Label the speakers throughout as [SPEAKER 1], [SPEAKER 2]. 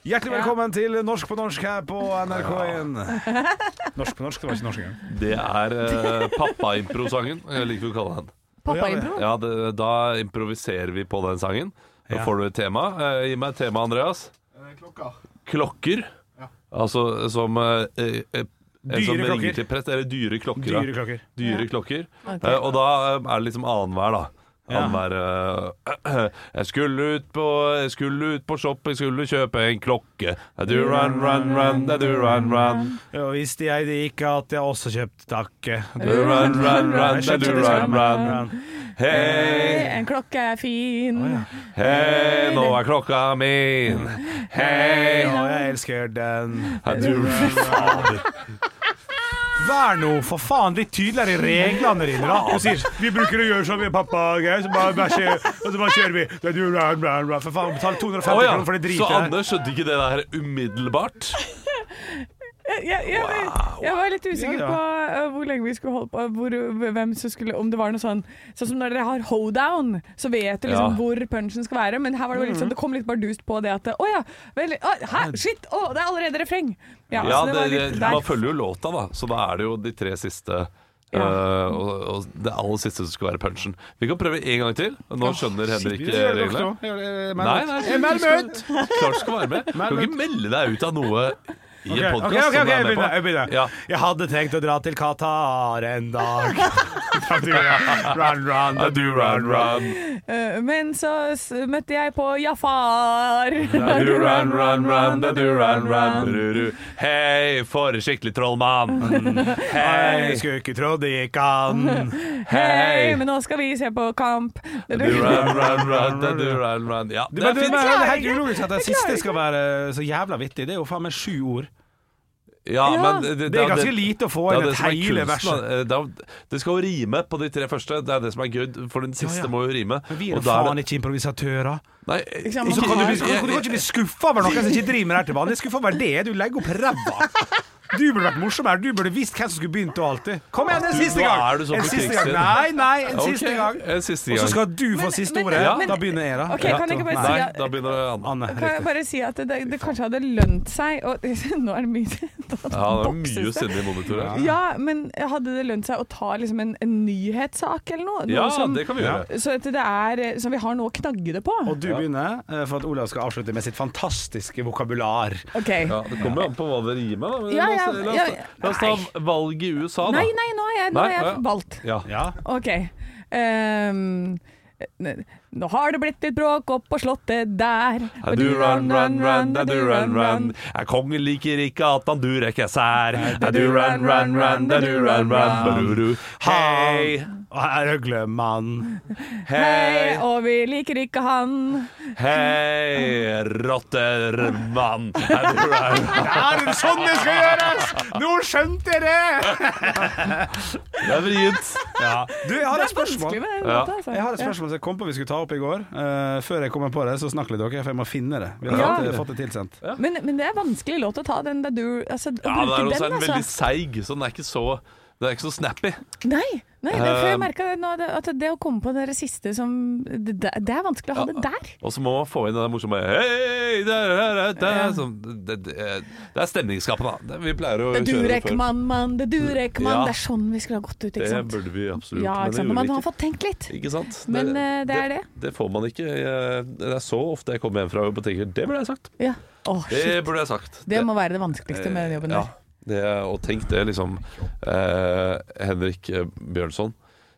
[SPEAKER 1] Hjertelig velkommen til Norsk på norsk her på NRK1. Norsk på norsk, det var ikke norsk engang.
[SPEAKER 2] Det er eh, pappaimpro-sangen, jeg liker å kalle den.
[SPEAKER 3] Pappaintro?
[SPEAKER 2] Ja, det, da improviserer vi på den sangen. Da
[SPEAKER 1] Ja.
[SPEAKER 2] får du et tema. Eh, gi meg et tema, Andreas. Eh, Klokker. Altså som eh, eh, en
[SPEAKER 1] Dyre
[SPEAKER 2] som
[SPEAKER 1] klokker.
[SPEAKER 2] ringer til prest, eller dyre klokker. da.
[SPEAKER 1] Dyre klokker.
[SPEAKER 2] Dyre klokker.
[SPEAKER 3] Ok.
[SPEAKER 2] Eh, og da eh, er det liksom annenhver, da. Annenhver eh, Jeg skulle ut på Jeg skulle ut på shop, jeg skulle kjøpe en klokke. I do run, run, run, I do run, run.
[SPEAKER 1] Og visste jeg det ikke at jeg også kjøpte takke.
[SPEAKER 2] I do run, run, run, I do run, run.
[SPEAKER 1] Run.
[SPEAKER 2] Hei,
[SPEAKER 3] Eh, En klokke er fin.
[SPEAKER 2] hei, nå er klokka min. Hei,
[SPEAKER 1] Og jeg elsker den.
[SPEAKER 2] I do run, run.
[SPEAKER 1] Vær nå for faen litt tydeligere i reglene dine, da. Og sier vi bruker å gjøre som vi pappa greier, så bare, bare kjører, og så bare kjører vi. Det er du, bla, bla, bla. For faen, betal 250
[SPEAKER 2] Å ja,
[SPEAKER 1] kroner for det
[SPEAKER 2] Så
[SPEAKER 1] dritet her.
[SPEAKER 2] Anders skjønte ikke det der umiddelbart?
[SPEAKER 3] Jeg, jeg, jeg, jeg var litt usikker
[SPEAKER 1] Ja, ja.
[SPEAKER 3] på eh, hvor lenge vi skulle holde på, hvor, hvem som skulle Om det var noe sånn Sånn som når dere har hoedown, så vet du liksom
[SPEAKER 2] Ja.
[SPEAKER 3] hvor punchen skal være. Men her var det vel litt sånn, det kom litt bardust på det at eh, Å ja, vel, å, hæ, shit, å, det er allerede refreng. Ja,
[SPEAKER 2] Ja,
[SPEAKER 3] så
[SPEAKER 2] det,
[SPEAKER 3] det var litt
[SPEAKER 2] man
[SPEAKER 3] der.
[SPEAKER 2] følger jo låta, da. Så da er det jo de tre siste.
[SPEAKER 3] Ja.
[SPEAKER 2] eh, og, og det aller siste som skal være punchen. Vi kan prøve en gang til. Nå skjønner Henrik eh,
[SPEAKER 1] Det gjør dere
[SPEAKER 2] reglene.
[SPEAKER 1] også. Gjør det- eh, men-
[SPEAKER 2] Nei, nei,
[SPEAKER 1] Men-
[SPEAKER 2] du skal- Klart du skal være med. Du kan ikke melde deg ut av noe i en
[SPEAKER 1] Ok, ok,
[SPEAKER 2] podkast
[SPEAKER 1] ok,
[SPEAKER 2] som du
[SPEAKER 1] jeg
[SPEAKER 2] er med
[SPEAKER 1] begynner. Jeg,
[SPEAKER 2] på.
[SPEAKER 1] begynner.
[SPEAKER 2] Ja.
[SPEAKER 1] jeg hadde tenkt å dra til Qatar en dag. run, run,
[SPEAKER 2] I do run, run.
[SPEAKER 3] Eh, Men så s møtte jeg på Jafar.
[SPEAKER 2] I do run, run, run. I do run, run. Ru-ru. Hei, for en skikkelig trollmann.
[SPEAKER 1] Jeg
[SPEAKER 2] Hei,
[SPEAKER 1] skulle ikke trodd det gikk an.
[SPEAKER 3] Hei,
[SPEAKER 2] hei.
[SPEAKER 3] men nå skal vi se på kamp.
[SPEAKER 2] I do run, run, run. I do run, run. Ja,
[SPEAKER 1] Det,
[SPEAKER 2] det
[SPEAKER 1] men, det,
[SPEAKER 2] er
[SPEAKER 1] men, det
[SPEAKER 2] fint.
[SPEAKER 1] er helt
[SPEAKER 3] Jeg klarer
[SPEAKER 1] ulogisk at det
[SPEAKER 3] ikke. Jeg klarer
[SPEAKER 1] siste skal være eh, så jævla vittig. Det er jo faen meg sju ord.
[SPEAKER 2] Ja,
[SPEAKER 3] Ja.
[SPEAKER 2] men det,
[SPEAKER 1] Det er ganske lite å få
[SPEAKER 2] det
[SPEAKER 1] inn
[SPEAKER 2] er det
[SPEAKER 1] et
[SPEAKER 2] som er
[SPEAKER 1] hele vers.
[SPEAKER 2] kunsten, da. Eh, Det er- Det skal jo rime på de tre første. Det er det som er gøy, for den siste
[SPEAKER 1] Ja, ja.
[SPEAKER 2] må jo rime.
[SPEAKER 1] Men vi er
[SPEAKER 2] Og
[SPEAKER 1] jo
[SPEAKER 2] da er
[SPEAKER 1] faen
[SPEAKER 2] det-
[SPEAKER 1] ikke improvisatører.
[SPEAKER 2] Nei,
[SPEAKER 3] sant,
[SPEAKER 2] ikke-
[SPEAKER 1] Så kan du, bli,
[SPEAKER 2] jeg-
[SPEAKER 1] kan, kan du kan ikke bli skuffa over noen som ikke driver med det her til vanlig. Skuffa over det, du legger opp ræva. Du burde vært morsom her. Du burde visst hvem som skulle begynt og alt det. Kom igjen, en
[SPEAKER 2] Du,
[SPEAKER 1] siste
[SPEAKER 2] nå
[SPEAKER 1] gang!
[SPEAKER 2] er du så
[SPEAKER 1] En siste gang.
[SPEAKER 2] butikkstid.
[SPEAKER 1] Nei, nei, en
[SPEAKER 2] Ok,
[SPEAKER 1] siste gang.
[SPEAKER 2] En siste
[SPEAKER 1] Og
[SPEAKER 2] gang.
[SPEAKER 1] så skal du få
[SPEAKER 3] Men-
[SPEAKER 1] siste
[SPEAKER 3] men-
[SPEAKER 1] ordet.
[SPEAKER 2] Ja.
[SPEAKER 1] Da begynner jeg, da.
[SPEAKER 3] Ok, kan jeg ikke bare si
[SPEAKER 2] Nei,
[SPEAKER 3] at-
[SPEAKER 2] da begynner Anne.
[SPEAKER 1] Anne.
[SPEAKER 3] Kan jeg
[SPEAKER 1] riktig.
[SPEAKER 3] bare si at det, det kanskje hadde lønt seg å Nå er det mye
[SPEAKER 2] Ja, det er
[SPEAKER 3] bokses
[SPEAKER 2] mye
[SPEAKER 3] det.
[SPEAKER 2] sinne i monitoret.
[SPEAKER 3] Ja, men hadde det lønt seg å ta liksom en, en nyhetssak eller noe? sånn. noe
[SPEAKER 2] Ja,
[SPEAKER 3] som,
[SPEAKER 2] det kan vi
[SPEAKER 1] Ja.
[SPEAKER 2] gjøre.
[SPEAKER 3] Så at det er eh, Som vi har noe å knagge det på?
[SPEAKER 1] Og du begynner, eh, for at Olav skal avslutte med sitt fantastiske vokabular.
[SPEAKER 3] OK.
[SPEAKER 2] Ja, det kommer jo an på hva det rimer, da. Men
[SPEAKER 3] Ja,
[SPEAKER 2] la,
[SPEAKER 3] ja,
[SPEAKER 2] oss, la,
[SPEAKER 3] ja,
[SPEAKER 2] oss, la oss ta valg i USA, da.
[SPEAKER 3] Nei, nei, nå har jeg, nå har
[SPEAKER 2] Nei,
[SPEAKER 3] jeg
[SPEAKER 2] ja.
[SPEAKER 3] valgt.
[SPEAKER 2] Ja.
[SPEAKER 1] Ja.
[SPEAKER 3] OK. Ehm, n- nå har det blitt litt bråk opp på slottet der.
[SPEAKER 2] I do run, run, run, I do run, run. Ja, kongen liker ikke at han durek er sær. I do run, run, run, I do run, run. Ba-du-du. Hei,
[SPEAKER 1] Og her Røglemann.
[SPEAKER 3] Hei,
[SPEAKER 2] hei.
[SPEAKER 3] og vi liker ikke han.
[SPEAKER 2] Hei, rottermann.
[SPEAKER 1] Det er det sånn det skal gjøres! Nå skjønte jeg det!
[SPEAKER 2] Det er vrient.
[SPEAKER 1] Du, jeg har et
[SPEAKER 3] Det er
[SPEAKER 1] spørsmål.
[SPEAKER 3] vanskelig med den
[SPEAKER 2] Ja.
[SPEAKER 3] låta, altså.
[SPEAKER 1] Jeg har et spørsmål som jeg kom på vi skulle ta opp i går. Eh, før jeg kommer på det, så snakk litt dere, for jeg må finne det. Vi har
[SPEAKER 3] Ja.
[SPEAKER 1] fått, fått det tilsendt.
[SPEAKER 3] Ja. Men, men det er vanskelig låt å ta den der du altså, Å
[SPEAKER 2] Ja, det
[SPEAKER 3] bruke
[SPEAKER 2] er også
[SPEAKER 3] den,
[SPEAKER 2] en
[SPEAKER 3] altså.
[SPEAKER 2] veldig seig, så den er ikke så den er ikke så snappy.
[SPEAKER 3] Nei, nei det, for
[SPEAKER 2] Eh,
[SPEAKER 3] jeg merka at det å komme på det der siste som det, det er vanskelig å ha det der.
[SPEAKER 2] Og så må man få inn den der morsomme Hei, der, der, der, der. Sånn, det, det, det er stemningsskapende, da. Det- Vi pleier å
[SPEAKER 3] Det
[SPEAKER 2] kjøre det
[SPEAKER 3] Durek,
[SPEAKER 2] før.
[SPEAKER 3] mann, mann, det Durek, mann.
[SPEAKER 2] Ja.
[SPEAKER 3] Det er sånn vi skulle ha gått ut, ikke
[SPEAKER 2] Det
[SPEAKER 3] sant?
[SPEAKER 2] burde vi absolutt.
[SPEAKER 3] Ja,
[SPEAKER 2] men
[SPEAKER 3] ikke
[SPEAKER 2] det
[SPEAKER 3] sant? Men
[SPEAKER 2] gjorde
[SPEAKER 3] man
[SPEAKER 2] vi
[SPEAKER 3] har
[SPEAKER 2] ikke.
[SPEAKER 3] fått tenkt litt.
[SPEAKER 2] Ikke sant?
[SPEAKER 3] Men, eh, det er det.
[SPEAKER 2] Det får man ikke. Jeg- Det er så ofte jeg kommer hjem fra jobb og tenker Det burde jeg sagt.
[SPEAKER 3] Ja. Åh,
[SPEAKER 2] Det
[SPEAKER 3] shit.
[SPEAKER 2] burde jeg sagt.
[SPEAKER 3] Det må være det vanskeligste med den jobben
[SPEAKER 2] Eh, ja,
[SPEAKER 1] Eh,
[SPEAKER 3] der.
[SPEAKER 2] det, og tenk det, liksom
[SPEAKER 1] Mm.
[SPEAKER 2] eh, Henrik eh, Bjørnson,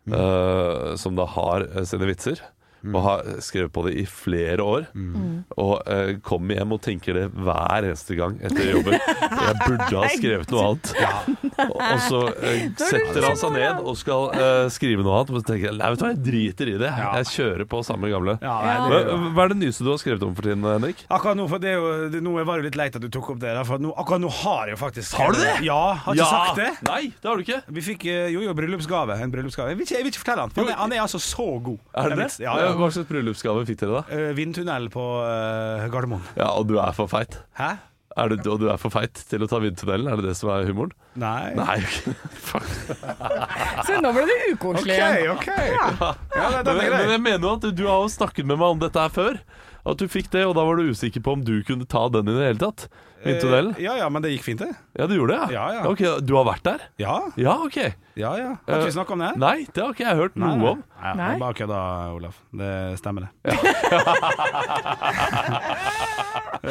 [SPEAKER 2] eh, som da har eh, sine vitser. og har skrevet på det i flere år.
[SPEAKER 1] Mm.
[SPEAKER 3] Mm.
[SPEAKER 2] Og eh, kommer hjem og tenker det hver eneste gang etter jobben. Jeg burde ha skrevet noe annet. Og, og så eh, setter han seg
[SPEAKER 3] sånn,
[SPEAKER 2] ned og skal eh, skrive noe annet, og så tenker jeg nei, vet du hva, jeg driter i det. Jeg kjører på samme gamle.
[SPEAKER 1] Ja, nei, det
[SPEAKER 2] Hva, hva er det nyeste du har skrevet om for tiden, Henrik?
[SPEAKER 1] Akkurat nå, for det er jo, det, nå var det jo litt leit at du tok opp det. der, For nå, akkurat nå har jeg jo faktisk
[SPEAKER 2] Har du det?
[SPEAKER 1] Ja, har ikke sagt det.
[SPEAKER 2] Nei, det har du ikke.
[SPEAKER 1] Vi fikk eh, jo jo bryllupsgave. En bryllupsgave. Jeg vil ikke, jeg vil ikke fortelle han, for han er, han er altså så god.
[SPEAKER 2] Er det det?
[SPEAKER 1] Den vitsen. Ja, ja.
[SPEAKER 2] Hva slags bryllupsgave fikk dere, da?
[SPEAKER 1] Eh, Vindtunnel på eh, Gardermoen.
[SPEAKER 2] Ja, Og du er for feit.
[SPEAKER 1] Hæ?
[SPEAKER 2] Er du, og du er for feit til å ta vindtunnelen? Er det det som er humoren?
[SPEAKER 1] Nei.
[SPEAKER 2] Nei, ok. Fuck.
[SPEAKER 3] Så nå ble det
[SPEAKER 1] OK,
[SPEAKER 3] ukoselig igjen.
[SPEAKER 1] OK. Ja, nei,
[SPEAKER 2] Men,
[SPEAKER 1] den er grei.
[SPEAKER 2] men jeg mener jo at du har jo snakket med meg om dette her før. At du fikk det, og da var du usikker på om du kunne ta den i det hele tatt. Vindtunnelen.
[SPEAKER 1] Eh, Ja, ja, men det gikk fint, det.
[SPEAKER 2] Ja, du gjorde det?
[SPEAKER 1] Ja, ja.
[SPEAKER 2] Ok, Du har vært der?
[SPEAKER 1] Ja,
[SPEAKER 2] Ja, OK.
[SPEAKER 1] ja. ja. Har ikke
[SPEAKER 2] Eh,
[SPEAKER 1] vi snakka om det? her?
[SPEAKER 2] Nei, det har ikke jeg hørt
[SPEAKER 1] nei.
[SPEAKER 2] noe om.
[SPEAKER 1] Nei, det
[SPEAKER 3] Nei.
[SPEAKER 1] er bare kødda, Olaf. Det stemmer, det.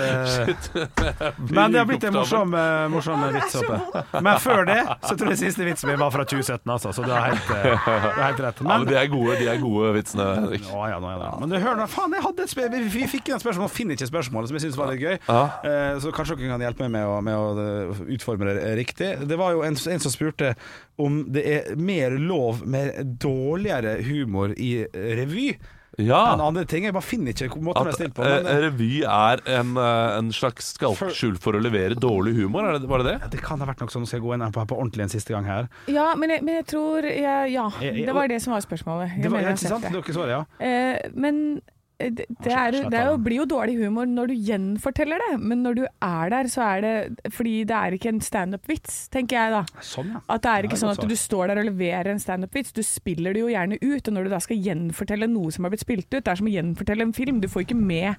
[SPEAKER 1] Eh, Men det har blitt en morsom, eh, morsom vits, håper jeg. Men før det så tror jeg siste vitsen min var fra 2017, altså. Så du har helt, eh, du har helt rett.
[SPEAKER 2] Ja, men
[SPEAKER 1] Men
[SPEAKER 2] De er gode, de er gode vitsene, Henrik.
[SPEAKER 1] Å, ja, nå er det. Men du, hør nå, faen, jeg hadde et spe- vi, vi fikk en spørsmål, finner ikke spørsmålet, som jeg syns var litt gøy.
[SPEAKER 2] Ja.
[SPEAKER 1] Eh, så kanskje dere kan hjelpe meg med å, med å eh, utforme det eh, riktig. Det var jo en, en som spurte om det er mer lov med dårligere humor i eh, revy
[SPEAKER 2] Ja.
[SPEAKER 1] enn andre ting. Jeg bare finner ikke hvor- måten det
[SPEAKER 2] At
[SPEAKER 1] er stilt på.
[SPEAKER 2] eh,
[SPEAKER 1] Men, Ah. eh,
[SPEAKER 2] revy er en, eh, en slags skalkskjul for å levere dårlig humor, er det, var det det?
[SPEAKER 1] det kan ha vært noe sånn, nå skal jeg gå inn her på, på ordentlig en siste gang her.
[SPEAKER 3] Ja, men jeg, men jeg tror jeg, Ja,
[SPEAKER 1] Jeg- jeg-
[SPEAKER 3] det var det som var spørsmålet. Jeg
[SPEAKER 1] Det var
[SPEAKER 3] mener
[SPEAKER 1] ja,
[SPEAKER 3] jeg
[SPEAKER 1] ikke
[SPEAKER 3] har
[SPEAKER 1] sant?
[SPEAKER 3] sett det.
[SPEAKER 1] Dere svarer ja.
[SPEAKER 3] Eh, men eh, det, det, er, jo- det er jo, blir jo dårlig humor når du gjenforteller det, men når du er der, så er det fordi det er ikke en standup-vits, tenker jeg da.
[SPEAKER 1] Sånn, ja.
[SPEAKER 3] At det er
[SPEAKER 1] Ja,
[SPEAKER 3] ikke sånn
[SPEAKER 1] godt
[SPEAKER 3] at du står der og leverer en standup-vits, du spiller det jo gjerne ut, og når du da skal gjenfortelle noe som har blitt spilt ut, det er som å gjenfortelle en film, du får ikke med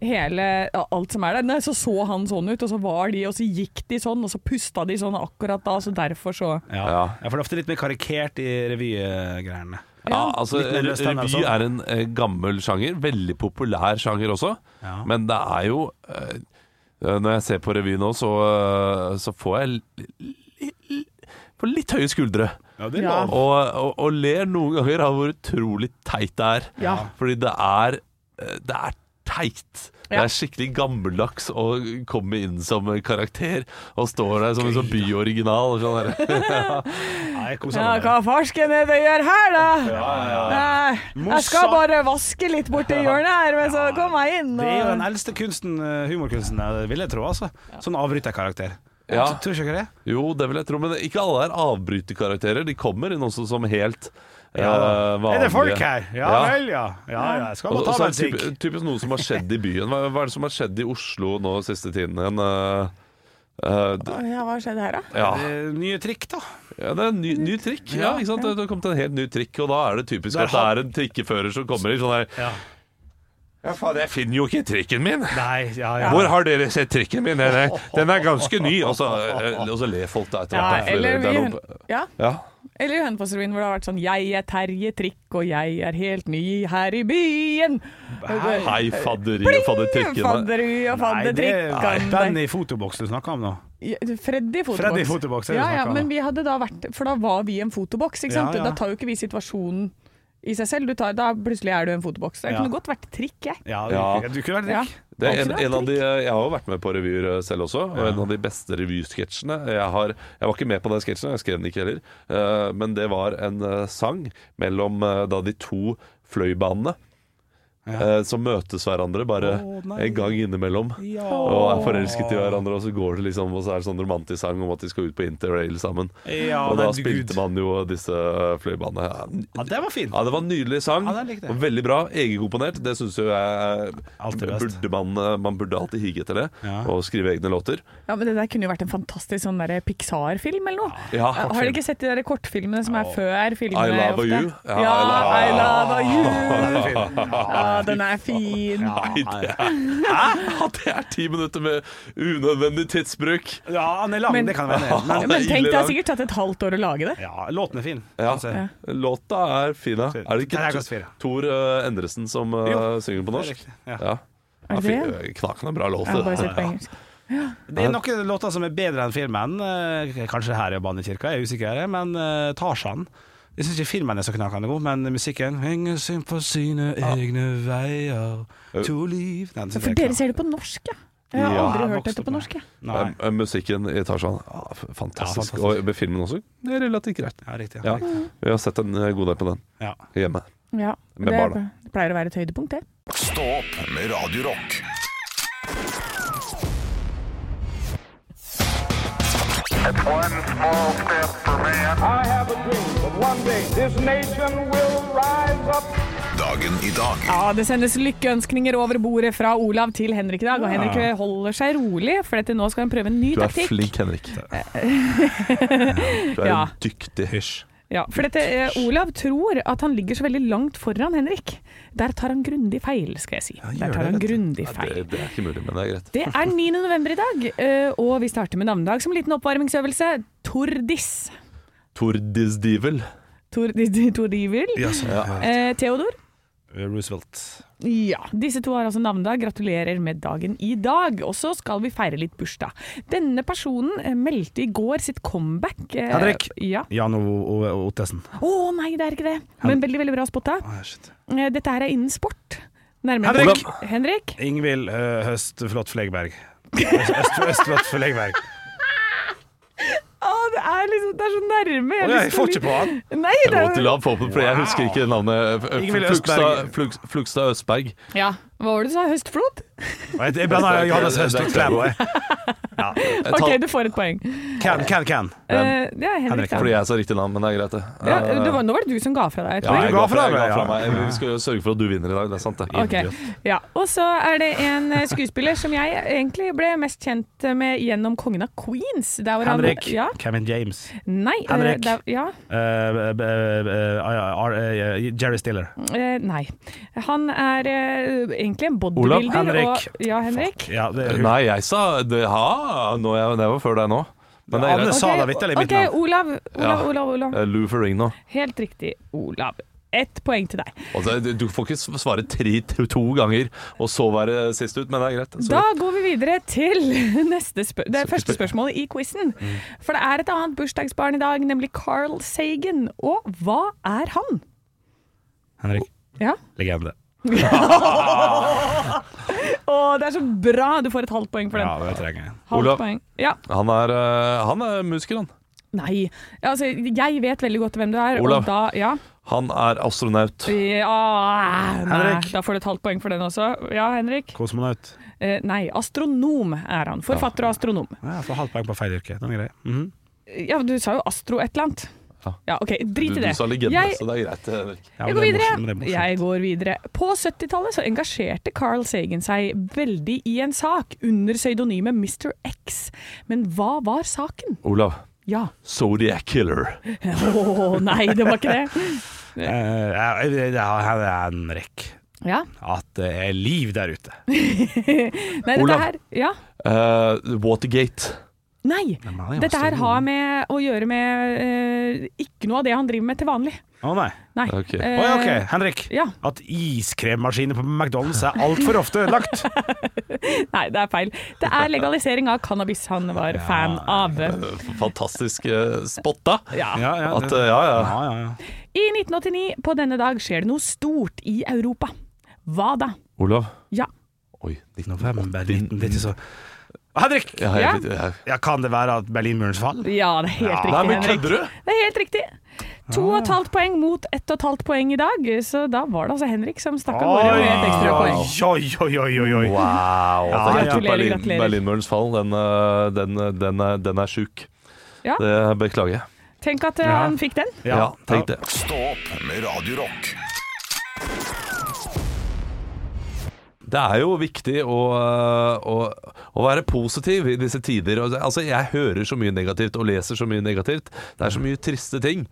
[SPEAKER 3] hele ja, alt som er der. Nei, så så han sånn ut, og så var de, og så gikk de sånn, og så pusta de sånn akkurat da, så derfor så
[SPEAKER 1] Ja.
[SPEAKER 2] Ja.
[SPEAKER 1] ja, for det er ofte litt mer karikert i revygreiene.
[SPEAKER 2] Ja, altså
[SPEAKER 1] Litt mer løst enn altså.
[SPEAKER 2] Revy er en eh, gammel sjanger, veldig populær sjanger også.
[SPEAKER 1] Ja.
[SPEAKER 2] Men det er jo eh, Når jeg ser på revy nå, så, eh, så får jeg li, li, li, får litt høye skuldre.
[SPEAKER 1] Ja, det er
[SPEAKER 3] Ja.
[SPEAKER 1] lov.
[SPEAKER 2] Og, og, og ler noen ganger av hvor utrolig teit det er.
[SPEAKER 3] Ja.
[SPEAKER 2] Fordi det er eh, Det er teit. Det
[SPEAKER 3] Ja.
[SPEAKER 2] er skikkelig gammeldags å komme inn som karakter og stå der som en sånn byoriginal. og Sånn der.
[SPEAKER 1] Nei, jeg koser
[SPEAKER 3] Ja,
[SPEAKER 1] meg med Sånn det.
[SPEAKER 3] hva farsken er det gjør her da? Nei, jeg skal
[SPEAKER 1] Mossa.
[SPEAKER 3] bare vaske litt borti hjørnet her, men så kom jeg inn.
[SPEAKER 1] Det er jo den
[SPEAKER 3] Og...
[SPEAKER 1] eldste kunsten, eh, humorkunsten, eh, vil jeg tro. altså Sånn avbryterkarakter.
[SPEAKER 2] Ja.
[SPEAKER 1] Så Tror ikke dere det?
[SPEAKER 2] Jo, det vil jeg tro, men ikke alle er avbryterkarakterer. De kommer inn også som helt eh, vanlige.
[SPEAKER 1] er det folk her? Ja,
[SPEAKER 2] Ja.
[SPEAKER 1] vel, ja. ja, ja. Jeg skal
[SPEAKER 2] Og
[SPEAKER 1] bare
[SPEAKER 2] og
[SPEAKER 1] ta
[SPEAKER 2] så
[SPEAKER 1] meg
[SPEAKER 2] er
[SPEAKER 1] en
[SPEAKER 2] det
[SPEAKER 1] drink.
[SPEAKER 2] typ, typisk noe som har skjedd i byen. Hva, hva er det som har skjedd i Oslo nå siste tiden? En, eh, eh, d-
[SPEAKER 3] Ja, hva skjedde her da?
[SPEAKER 2] ja.
[SPEAKER 1] Eh, Nye trikk, da.
[SPEAKER 2] ja, det er en ny, ny trikk. Ja, ikke sant? Det- Det har kommet en helt ny trikk, og da er det typisk
[SPEAKER 1] Der
[SPEAKER 2] at det er en trikkefører som kommer inn sånn her
[SPEAKER 1] Ja.
[SPEAKER 2] Ja, faen, jeg finner jo ikke trikken min!
[SPEAKER 1] Nei, ja, ja.
[SPEAKER 2] Hvor har dere sett trikken min? Den er, den er ganske ny! Og så, eh, og så ler folk da etter
[SPEAKER 3] Ja,
[SPEAKER 2] hvert. fordi
[SPEAKER 3] eller
[SPEAKER 2] det er
[SPEAKER 3] vi-
[SPEAKER 2] noe-
[SPEAKER 3] Ja,
[SPEAKER 2] ja.
[SPEAKER 3] eller i Hønefossrevyen hvor det har vært sånn Jeg er Terje Trikk, og jeg er helt ny her i byen.
[SPEAKER 2] Hei, fadderi og faddertrikkene.
[SPEAKER 3] Fadderu og
[SPEAKER 1] Nei, det er
[SPEAKER 3] faddertrikkene.
[SPEAKER 1] Benny Fotoboks du snakker om nå.
[SPEAKER 3] Ja, Freddy fotoboks.
[SPEAKER 1] Freddy Fotoboks er det
[SPEAKER 3] ja,
[SPEAKER 1] vi
[SPEAKER 3] ja,
[SPEAKER 1] snakker om, da.
[SPEAKER 3] men vi hadde da vært For da var vi en fotoboks, ikke
[SPEAKER 1] Ja,
[SPEAKER 3] sant?
[SPEAKER 1] ja.
[SPEAKER 3] Da tar jo ikke vi situasjonen i seg selv. Du tar, da plutselig er du en fotoboks. Det
[SPEAKER 1] Ja.
[SPEAKER 3] kunne godt vært trikk, jeg.
[SPEAKER 1] Ja,
[SPEAKER 2] Ja.
[SPEAKER 1] Du, du kunne vært
[SPEAKER 3] Ja.
[SPEAKER 1] drikk.
[SPEAKER 2] Det er en,
[SPEAKER 3] Absolutt.
[SPEAKER 2] en av de, jeg har jo vært med på revyer selv også, og en av de beste revysketsjene jeg, har, jeg var ikke med på den sketsjen, jeg skrev den ikke heller, eh, men det var en eh, sang mellom eh, da de to fløybanene eh, som møtes hverandre bare
[SPEAKER 1] Å, nei.
[SPEAKER 2] en gang innimellom. Og er forelsket i hverandre, og så går det liksom Og så er det sånn romantisk sang om at de skal ut på interrail sammen.
[SPEAKER 1] Ja,
[SPEAKER 2] og
[SPEAKER 1] nei,
[SPEAKER 2] da
[SPEAKER 1] du
[SPEAKER 2] spilte
[SPEAKER 1] Gud.
[SPEAKER 2] man jo disse eh, fløybanene. Ja,
[SPEAKER 1] Ja, det var fint.
[SPEAKER 2] Ja, det var en nydelig sang.
[SPEAKER 1] Ja, den likte jeg.
[SPEAKER 2] og veldig bra. Egenkomponert. Det syns jo jeg
[SPEAKER 1] Alltid best.
[SPEAKER 2] burde man, eh, man burde alltid hige etter det.
[SPEAKER 1] Ja.
[SPEAKER 2] Og skrive egne låter.
[SPEAKER 3] Ja, men Det der kunne jo vært en fantastisk sånn der Pixar-film eller noe.
[SPEAKER 2] Ja,
[SPEAKER 3] har dere ikke sett de der kortfilmene som er før filmene?
[SPEAKER 2] I Love
[SPEAKER 3] ofte?
[SPEAKER 2] You. Ja,
[SPEAKER 3] Ja,
[SPEAKER 2] I
[SPEAKER 3] I Love
[SPEAKER 1] Ah. Ja, det
[SPEAKER 3] You.
[SPEAKER 1] er fint.
[SPEAKER 3] Ja, den er fin.
[SPEAKER 2] Nei, det er, Hæ? det er ti minutter med unødvendig tidsbruk.
[SPEAKER 1] Ja, han er lang,
[SPEAKER 3] Men-
[SPEAKER 1] det kan jeg være enig i. Men
[SPEAKER 3] Men tenk, det
[SPEAKER 2] Ille
[SPEAKER 3] har
[SPEAKER 2] lang.
[SPEAKER 3] sikkert tatt et halvt år å lage det.
[SPEAKER 1] ja, låten er fin.
[SPEAKER 2] Ja.
[SPEAKER 1] Altså,
[SPEAKER 2] Låta er fin, ja. Er det
[SPEAKER 1] Den er klasse
[SPEAKER 2] ikke
[SPEAKER 1] fire.
[SPEAKER 2] Tor eh, Endresen som eh,
[SPEAKER 1] Jo,
[SPEAKER 2] synger på
[SPEAKER 1] det er
[SPEAKER 2] norsk?
[SPEAKER 1] riktig, ja.
[SPEAKER 2] Ja. Ja,
[SPEAKER 3] det
[SPEAKER 2] fy- eh, Knakende bra låt.
[SPEAKER 3] Jeg har bare
[SPEAKER 2] det.
[SPEAKER 3] sett på engelsk.
[SPEAKER 1] Det er noen låter som er bedre enn filmen. Eh, Kanskje her i Bannekirka, jeg er usikker, men eh, Tarzan Jeg syns ikke filmen er så knakende god, men musikken Henger seg på sine egne veier, to liv Den synes
[SPEAKER 3] For
[SPEAKER 1] jeg er
[SPEAKER 3] dere ser det på norsk, ja. Jeg har
[SPEAKER 2] Ja,
[SPEAKER 3] aldri
[SPEAKER 1] jeg
[SPEAKER 3] hørt
[SPEAKER 1] vokste
[SPEAKER 3] dette
[SPEAKER 1] opp
[SPEAKER 3] på
[SPEAKER 1] med
[SPEAKER 3] norsk. jeg.
[SPEAKER 1] knakk. Nei.
[SPEAKER 2] Eh, Musikken i Tarzan, ah, f-
[SPEAKER 1] Ja,
[SPEAKER 2] fantastisk.
[SPEAKER 1] fantastisk.
[SPEAKER 2] Og med filmen også, det er relativt greit.
[SPEAKER 1] Ja, riktig.
[SPEAKER 2] Ja,
[SPEAKER 1] riktig.
[SPEAKER 2] vi har sett en eh, god del på den
[SPEAKER 1] Ja.
[SPEAKER 2] hjemme.
[SPEAKER 3] Ja,
[SPEAKER 2] Med
[SPEAKER 3] det,
[SPEAKER 2] barna.
[SPEAKER 3] det pleier å være et høydepunkt, det.
[SPEAKER 4] Stå opp med Radio Rock.
[SPEAKER 5] One small step for man. I have a dream that one day this nation will rise up.
[SPEAKER 4] Dagen i dag
[SPEAKER 3] Ja, Det sendes lykkeønskninger over bordet fra Olav til Henrik i dag. Og Henrik holder seg rolig, for dette, nå skal han prøve en ny
[SPEAKER 2] Du er
[SPEAKER 3] taktikk.
[SPEAKER 2] flink, Henrik. Du er
[SPEAKER 3] Ja.
[SPEAKER 2] en dyktig hysj.
[SPEAKER 3] Ja, for dette, eh, Olav tror at han ligger så veldig langt foran Henrik. Der tar han grundig feil, skal jeg si. Der tar han grundig feil.
[SPEAKER 2] Det, det er ikke mulig, men det er greit.
[SPEAKER 3] Det er 9. november i dag, eh, og vi starter med navnedag som en liten oppvarmingsøvelse. Tordis.
[SPEAKER 2] Tordisdivel.
[SPEAKER 3] Tor, Tordivel.
[SPEAKER 1] Ja, sånn, ja.
[SPEAKER 3] Eh, Theodor.
[SPEAKER 1] Roosevelt.
[SPEAKER 3] Ja. Disse to har altså navnedag. Gratulerer med dagen i dag. Og så skal vi feire litt bursdag. Denne personen eh, meldte i går sitt comeback. eh,
[SPEAKER 1] Henrik.
[SPEAKER 3] Ja.
[SPEAKER 1] Jan O- O- O- Ottesen.
[SPEAKER 3] Å nei, det er ikke det. Men veldig, veldig bra spotta.
[SPEAKER 1] Ah, shit.
[SPEAKER 3] Eh, Dette her er innen sport. Nærmere
[SPEAKER 1] Henrik!
[SPEAKER 3] bestemt- Henrik.
[SPEAKER 1] Ingvild uh, Høstflot Flegberg. Øst- Øst- Østflot Flegberg.
[SPEAKER 3] Å, det er liksom Det er så nærme.
[SPEAKER 1] Å,
[SPEAKER 3] har
[SPEAKER 1] jeg
[SPEAKER 3] lyst
[SPEAKER 1] får
[SPEAKER 3] til å-
[SPEAKER 1] ikke på han.
[SPEAKER 3] Nei, det
[SPEAKER 2] Jeg måtte
[SPEAKER 3] er
[SPEAKER 2] la ham få på, for jeg husker ikke navnet. F-
[SPEAKER 1] Ingvild
[SPEAKER 2] F- Flugstad-
[SPEAKER 1] Østberg.
[SPEAKER 2] Flug- Flugstad Østberg.
[SPEAKER 3] Ja. Hva var det du sa? Høstflot?
[SPEAKER 1] Og Jeg, jeg blander Johannes Høstflot Klæbo. jeg.
[SPEAKER 2] Jeg tar-
[SPEAKER 3] OK, du får et poeng.
[SPEAKER 1] Can, can, can.
[SPEAKER 3] Eh, det er Henrik,
[SPEAKER 1] Henrik,
[SPEAKER 3] da.
[SPEAKER 2] Fordi jeg sa riktig navn, men det er greit, det.
[SPEAKER 3] Ja,
[SPEAKER 2] Eh,
[SPEAKER 3] det var, nå var det du som ga fra deg.
[SPEAKER 2] ja,
[SPEAKER 3] tror jeg.
[SPEAKER 2] jeg
[SPEAKER 1] Du ga
[SPEAKER 2] ga fra,
[SPEAKER 1] fra
[SPEAKER 2] jeg
[SPEAKER 1] deg,
[SPEAKER 2] ga fra
[SPEAKER 1] ja.
[SPEAKER 2] meg. Jeg- Vi skal jo sørge for at du vinner i dag, det er sant, det.
[SPEAKER 3] Ok. Ja. Og så er det en eh, skuespiller som jeg egentlig ble mest kjent med gjennom Kongen av Queens. Der hvor han-
[SPEAKER 1] Henrik.
[SPEAKER 3] Ja.
[SPEAKER 1] Kevin James.
[SPEAKER 3] Nei. eh,
[SPEAKER 1] Henrik.
[SPEAKER 3] Der, ja.
[SPEAKER 1] Eh, eh, eh, eh, eh, eh, Jerry Stiller.
[SPEAKER 3] Eh, nei. Han er eh, egentlig en bodybuilder.
[SPEAKER 2] Olav.
[SPEAKER 1] Henrik.
[SPEAKER 3] Og, ja, Henrik.
[SPEAKER 1] Ja, det er
[SPEAKER 2] Eh, Nei, jeg sa det, ha, nå er jeg, det var før deg nå. Men det er
[SPEAKER 1] Anne
[SPEAKER 2] greit.
[SPEAKER 1] sa
[SPEAKER 3] Ok,
[SPEAKER 1] da vitterlig mitt
[SPEAKER 3] OK,
[SPEAKER 1] navn.
[SPEAKER 3] Olav. Olav,
[SPEAKER 2] Ja.
[SPEAKER 3] Olav, Olav.
[SPEAKER 2] Eh, Lou Ferrigno.
[SPEAKER 3] Helt riktig, Olav. Ett poeng til deg.
[SPEAKER 2] Altså, du- du får ikke s- svare tre, to, to ganger og så være sist ut, men det er greit. Så-
[SPEAKER 3] Da går vi videre til neste spør det første spørsmålet i quizen.
[SPEAKER 2] Mm.
[SPEAKER 3] For det er et annet bursdagsbarn i dag, nemlig Carl Sagen. Og hva er han?
[SPEAKER 1] Henrik.
[SPEAKER 3] Ja.
[SPEAKER 1] Legende.
[SPEAKER 3] Å, det er så bra! Du får et halvt poeng for den.
[SPEAKER 1] Ja, det trenger jeg.
[SPEAKER 3] Halvt
[SPEAKER 2] Olav.
[SPEAKER 3] poeng. Ja.
[SPEAKER 2] Han er, eh, han er musiker, han.
[SPEAKER 3] Nei. Altså, jeg vet veldig godt hvem du er.
[SPEAKER 2] Olav.
[SPEAKER 3] Og da, ja.
[SPEAKER 2] Han er astronaut.
[SPEAKER 3] ja nei.
[SPEAKER 1] Henrik.
[SPEAKER 3] Da får du et halvt poeng for den også. Ja, Henrik.
[SPEAKER 1] Kosmonaut.
[SPEAKER 3] Eh, nei, astronom er han. Forfatter og astronom.
[SPEAKER 1] Ja, jeg får halvt poeng på feil yrke. Den er grei. Mhm.
[SPEAKER 3] Ja, du sa jo astro et eller annet.
[SPEAKER 2] Ja.
[SPEAKER 3] Ja, OK,
[SPEAKER 2] Du,
[SPEAKER 3] drit i det.
[SPEAKER 2] du sa legende,
[SPEAKER 3] Jeg-
[SPEAKER 2] så det er greit. Henrik.
[SPEAKER 1] Ja,
[SPEAKER 3] Jeg
[SPEAKER 1] men
[SPEAKER 3] går
[SPEAKER 1] det er morsomt, men det er
[SPEAKER 3] videre.
[SPEAKER 1] morsomt.
[SPEAKER 3] Jeg går videre. På 70-tallet så engasjerte Carl Sagen seg veldig i en sak under pseudonymet Mr. X. Men hva var saken?
[SPEAKER 2] Olav.
[SPEAKER 3] Ja.
[SPEAKER 2] Zodiac Killer.
[SPEAKER 3] Å nei, det var ikke det.
[SPEAKER 1] Eh, ja, det er Henrik.
[SPEAKER 3] Ja.
[SPEAKER 1] At det er liv der ute.
[SPEAKER 3] Nei, dette
[SPEAKER 2] Olav.
[SPEAKER 3] her Ja.
[SPEAKER 2] Eh, Watergate.
[SPEAKER 3] Nei.
[SPEAKER 1] han er
[SPEAKER 3] Dette her
[SPEAKER 1] astronom.
[SPEAKER 3] har med å gjøre med eh, ikke noe av det han driver med til vanlig.
[SPEAKER 1] Å nei.
[SPEAKER 3] Nei.
[SPEAKER 2] Ok.
[SPEAKER 1] Å ja, ok.
[SPEAKER 3] Eh,
[SPEAKER 1] Henrik.
[SPEAKER 3] ja.
[SPEAKER 1] At iskremmaskiner på McDonald's er altfor ofte ødelagt.
[SPEAKER 3] Nei, det er feil. Det er legalisering av cannabis han var fan av.
[SPEAKER 2] Fantastisk eh, spot, da.
[SPEAKER 3] Ja.
[SPEAKER 1] Ja, ja,
[SPEAKER 2] At,
[SPEAKER 1] det-
[SPEAKER 2] eh, ja, ja.
[SPEAKER 1] ja, ja, ja.
[SPEAKER 3] I 1989 på denne dag skjer det noe stort i Europa. Hva da?
[SPEAKER 2] Olav.
[SPEAKER 3] Ja.
[SPEAKER 2] Oi.
[SPEAKER 1] November 19... Det er ikke så Henrik!
[SPEAKER 2] Ja, jeg,
[SPEAKER 3] Ja.
[SPEAKER 2] jeg, jeg,
[SPEAKER 1] Ja, kan det være at Berlinmurens fall?
[SPEAKER 3] Ja, det er helt
[SPEAKER 2] Nei,
[SPEAKER 3] riktig,
[SPEAKER 2] men
[SPEAKER 3] Henrik.
[SPEAKER 2] kødder Ah. du?
[SPEAKER 3] Det er helt riktig. To og et halvt poeng mot ett og et halvt poeng i dag, så da var det altså Henrik som stakk av gårde med et ekstra
[SPEAKER 2] Ah.
[SPEAKER 3] poeng.
[SPEAKER 1] oi, oi, oi, oi, oi.
[SPEAKER 2] Wow.
[SPEAKER 1] Ja, ja.
[SPEAKER 2] at det er helt opp
[SPEAKER 3] Gratulerer,
[SPEAKER 2] Berlin,
[SPEAKER 3] gratulerer.
[SPEAKER 2] Berlinmurens fall, den, eh, den, den, er- den er sjuk.
[SPEAKER 3] Ja.
[SPEAKER 2] Det beklager jeg.
[SPEAKER 3] Tenk at eh,
[SPEAKER 1] Ja.
[SPEAKER 3] han fikk den.
[SPEAKER 2] Ja, tenk det.
[SPEAKER 4] Stå opp med Radio Rock.
[SPEAKER 2] Det er jo viktig å, å, å være positiv i disse tider. Og det- Altså, jeg hører så mye negativt og leser så mye negativt. Det er så mye triste ting.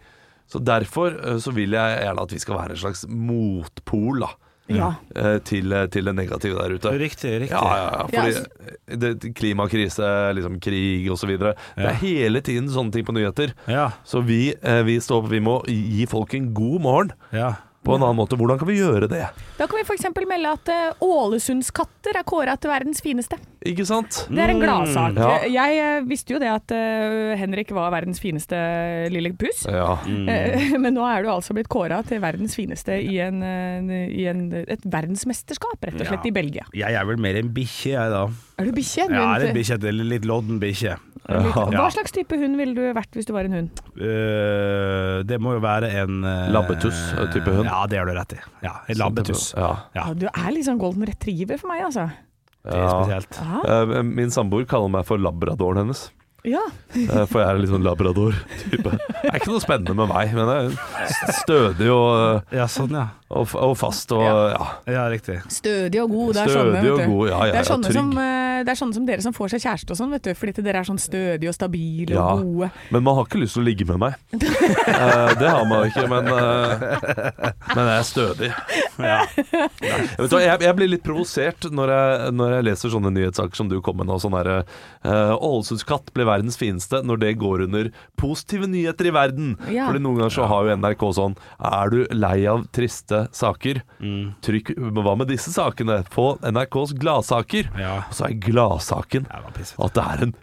[SPEAKER 2] Så derfor eh, så vil jeg gjerne at vi skal være en slags motpol da,
[SPEAKER 3] Ja.
[SPEAKER 2] eh, til, til det negative der ute.
[SPEAKER 1] Riktig, riktig.
[SPEAKER 2] Ja, ja, ja.
[SPEAKER 3] Ja,
[SPEAKER 2] Fordi det, klimakrise, liksom krig osv. videre Det er hele tiden sånne ting på nyheter.
[SPEAKER 1] Ja,
[SPEAKER 2] Så vi, eh, vi står på, vi må gi folk en god morgen.
[SPEAKER 1] ja.
[SPEAKER 2] på en annen måte. Hvordan kan vi gjøre det?
[SPEAKER 3] Da kan vi f.eks. melde at eh, Ålesundskatter er kåra til verdens fineste.
[SPEAKER 2] Ikke sant?
[SPEAKER 3] Det er en gladsak.
[SPEAKER 2] Mm. Ja.
[SPEAKER 3] Jeg eh, visste jo det at eh, Henrik var verdens fineste lille pus.
[SPEAKER 2] Ja.
[SPEAKER 3] Eh, Men nå er du altså blitt kåra til verdens fineste i, en, eh, i en, et verdensmesterskap, rett og
[SPEAKER 1] Ja.
[SPEAKER 3] slett, i Belgia.
[SPEAKER 1] Jeg er vel mer en bikkje, jeg da.
[SPEAKER 3] Er du bikkje?
[SPEAKER 1] Jeg er
[SPEAKER 3] Men- eh,
[SPEAKER 1] en bikkje, eller litt lodden bikkje.
[SPEAKER 3] Hva
[SPEAKER 1] Ja.
[SPEAKER 3] slags type hund ville du vært hvis du var en hund?
[SPEAKER 1] Eh, det må jo være en eh,
[SPEAKER 2] Labbetuss-type hund. Sånn
[SPEAKER 1] Ja, det har du rett i. Ja, en labbetuss.
[SPEAKER 2] Ja.
[SPEAKER 1] Ja.
[SPEAKER 3] Ja, Du er liksom golden retriever for meg, altså.
[SPEAKER 1] Det er
[SPEAKER 2] Ja.
[SPEAKER 1] spesielt.
[SPEAKER 2] Eh, Min samboer kaller meg for labradoren hennes.
[SPEAKER 3] Ja.
[SPEAKER 2] Eh, For jeg er litt sånn labrador-type. Det er ikke noe spennende med meg, men jeg er stødig og, eh,
[SPEAKER 1] Ja, sånn, ja.
[SPEAKER 2] og, og fast og ja.
[SPEAKER 1] Ja, riktig.
[SPEAKER 3] Stødig og god. Det er
[SPEAKER 2] Stødig
[SPEAKER 3] sånne, vet
[SPEAKER 2] og
[SPEAKER 3] du.
[SPEAKER 2] god, ja, ja,
[SPEAKER 3] det, er
[SPEAKER 2] ja,
[SPEAKER 3] sånne
[SPEAKER 2] trygg.
[SPEAKER 3] som, eh, det er sånne som dere som får seg kjæreste og sånn, vet du. Fordi at dere er sånn stødige og stabile
[SPEAKER 2] ja.
[SPEAKER 3] og gode.
[SPEAKER 2] Men man har ikke lyst til å ligge med meg. Eh, Det har man ikke, men, eh, men jeg er stødig.
[SPEAKER 1] Ja.
[SPEAKER 2] Jeg, vet, hva, jeg, jeg blir litt provosert når jeg, når jeg leser sånne nyhetssaker som du kom med nå. Sånn derre eh, Ålesundskatt blir verdens fineste når det går under positive nyheter i verden.
[SPEAKER 3] Ja.
[SPEAKER 2] Fordi noen ganger så har jo NRK sånn Er du lei av triste saker? Trykk men Hva med disse sakene? På NRKs gladsaker.
[SPEAKER 1] Ja.
[SPEAKER 2] Og så er gladsaken
[SPEAKER 1] Jeg var pissete.
[SPEAKER 2] at det er en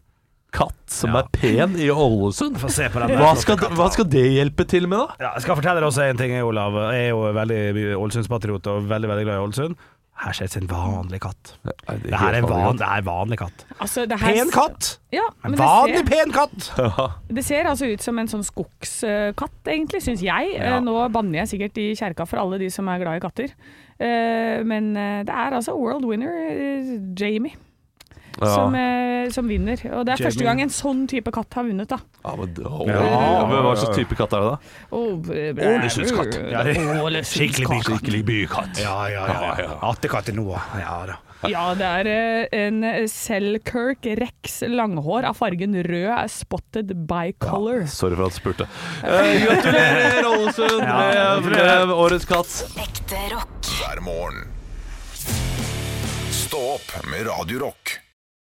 [SPEAKER 2] katt som
[SPEAKER 1] Ja.
[SPEAKER 2] er pen i Ålesund.
[SPEAKER 1] Få se på den der
[SPEAKER 2] Hva
[SPEAKER 1] flotte
[SPEAKER 2] skal,
[SPEAKER 1] katta.
[SPEAKER 2] hva skal det hjelpe til med, da?
[SPEAKER 1] Ja, jeg skal fortelle deg også en ting, Olav. Jeg er jo veldig Ålesundspatriot og veldig veldig glad i Ålesund. Her ser det ut som en vanlig katt.
[SPEAKER 2] Nei,
[SPEAKER 1] Det her er en van, det er en vanlig katt.
[SPEAKER 3] Altså, det her-
[SPEAKER 1] Pen katt!
[SPEAKER 3] Ja,
[SPEAKER 1] En
[SPEAKER 3] men
[SPEAKER 1] vanlig
[SPEAKER 3] det ser,
[SPEAKER 1] pen katt!
[SPEAKER 3] det ser altså ut som en sånn skogskatt, egentlig, syns jeg. Eh, Nå banner jeg sikkert i kjerka for alle de som er glad i katter. Eh, Men eh, det er altså world winner eh, Jamie
[SPEAKER 2] Ja.
[SPEAKER 3] som, eh, som vinner. Og det er første gang en sånn type katt har vunnet, da.
[SPEAKER 2] Ja, men, å,
[SPEAKER 1] ja,
[SPEAKER 2] men Hva
[SPEAKER 1] ja.
[SPEAKER 2] slags type katt er det, da?
[SPEAKER 3] Ålesundskatt.
[SPEAKER 1] Skikkelig bykatt.
[SPEAKER 2] Skikkelig bykatt.
[SPEAKER 1] Ja, ja, ja. ja. Attekatt til Noah. Ja da.
[SPEAKER 3] Ja, det er eh, en Selkirk Rex langhår av fargen rød spotted bicolor.
[SPEAKER 2] Sorry for at jeg spurte. Eh, gratulerer, Ålesund, med, med årets katt.
[SPEAKER 6] Ekte rock.
[SPEAKER 4] hver morgen. Stå opp med Radio Rock.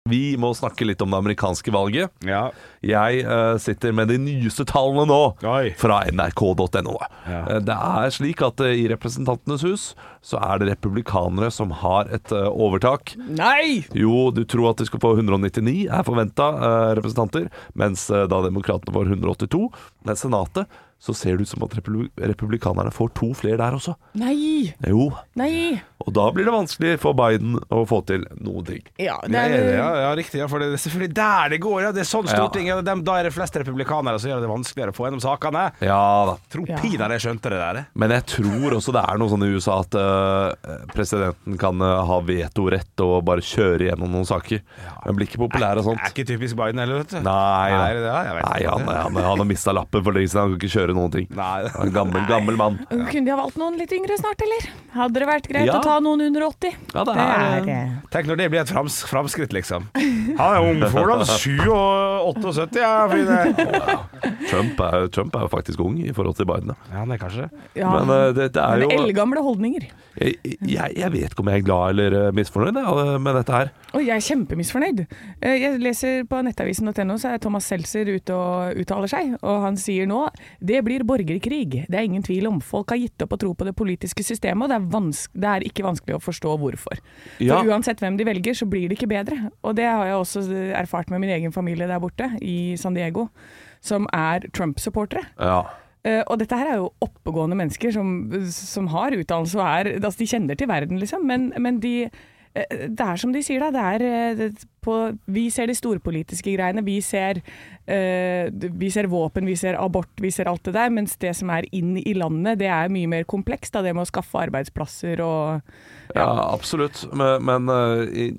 [SPEAKER 2] Vi må snakke litt om det amerikanske valget.
[SPEAKER 1] Ja.
[SPEAKER 2] Jeg eh, sitter med de nyeste tallene nå
[SPEAKER 1] Oi.
[SPEAKER 2] fra nrk.no.
[SPEAKER 1] Ja.
[SPEAKER 2] Eh, det er slik at eh, i Representantenes hus så er det republikanere som har et eh, overtak.
[SPEAKER 3] Nei!
[SPEAKER 2] Jo, du tror at de skal få 199, er forventa eh, representanter, mens eh, da demokratene får 182. Men Senatet, så ser det ut som at republi republikanerne får to flere der også.
[SPEAKER 3] Nei!
[SPEAKER 2] Jo,
[SPEAKER 3] Nei!
[SPEAKER 2] og da blir det vanskelig for Biden å få til noen ting.
[SPEAKER 3] Ja, det
[SPEAKER 1] Ja,
[SPEAKER 3] er,
[SPEAKER 1] ja, ja, ja, riktig. Ja, for det er selvfølgelig der det går. Ja. Det er sånn Stortinget ja. dem- Da er det flest republikanere som gjør det vanskeligere å få gjennom sakene.
[SPEAKER 2] Ja da.
[SPEAKER 1] Tro
[SPEAKER 3] Ja.
[SPEAKER 1] pinadø jeg skjønte det der. jeg.
[SPEAKER 2] Men jeg tror også det er noe sånn i USA at eh, presidenten kan eh, ha vetorett og bare kjøre gjennom noen saker. Men blir ikke populær av
[SPEAKER 1] Er
[SPEAKER 2] sånt.
[SPEAKER 1] ikke typisk Biden heller, vet du.
[SPEAKER 2] Nei,
[SPEAKER 1] Nei,
[SPEAKER 2] da.
[SPEAKER 1] det er- jeg vet
[SPEAKER 2] Nei
[SPEAKER 1] ikke.
[SPEAKER 2] han, han, han har mista lappen for lenge siden. Han kan ikke kjøre noen ting.
[SPEAKER 1] Nei.
[SPEAKER 2] Han er en gammel, gammel mann.
[SPEAKER 3] Kunne de ha valgt noen litt yngre snart, eller? Hadde det vært greit
[SPEAKER 2] Ja.
[SPEAKER 3] å ta noen under 80?
[SPEAKER 2] Ja, det
[SPEAKER 3] Det er, eh,
[SPEAKER 1] Tenk når det blir et frams framskritt, liksom.
[SPEAKER 7] Han er ung for da. 7 og 78, ja. fordi det-
[SPEAKER 2] Trump er, jo- Trump er jo faktisk ung i forhold til Biden. Ja.
[SPEAKER 1] Ja, det er kanskje
[SPEAKER 3] ja.
[SPEAKER 2] Men eh, det, det er
[SPEAKER 3] Men
[SPEAKER 2] jo
[SPEAKER 3] eldgamle holdninger.
[SPEAKER 2] jeg, jeg, jeg vet ikke om jeg er glad eller eh, misfornøyd eh, med dette her.
[SPEAKER 3] Og jeg er kjempemisfornøyd. Eh, Jeg leser på nettavisen.no, så er Thomas Seltzer ute og uttaler seg, og han sier nå det blir borgerkrig. Det er ingen tvil om. Folk har gitt opp å tro på det politiske systemet, og det er, vanske- det er ikke vanskelig å forstå hvorfor.
[SPEAKER 2] Ja.
[SPEAKER 3] For uansett hvem de velger, så blir det ikke bedre. Og det har jeg også erfart med min egen familie der borte, i San Diego, som er Trump-supportere.
[SPEAKER 2] Ja.
[SPEAKER 3] Eh, og dette her er jo oppegående mennesker som, som har utdannelse og er altså De kjenner til verden, liksom, men, men de eh, det er som de sier, da. Det er, eh, det, på, vi ser de storpolitiske greiene. Vi ser, eh, vi ser våpen, vi ser abort, vi ser alt det der. Mens det som er inn i landet, det er mye mer komplekst. Da, det med å skaffe arbeidsplasser og
[SPEAKER 2] ja, absolutt. Men, men eh, i-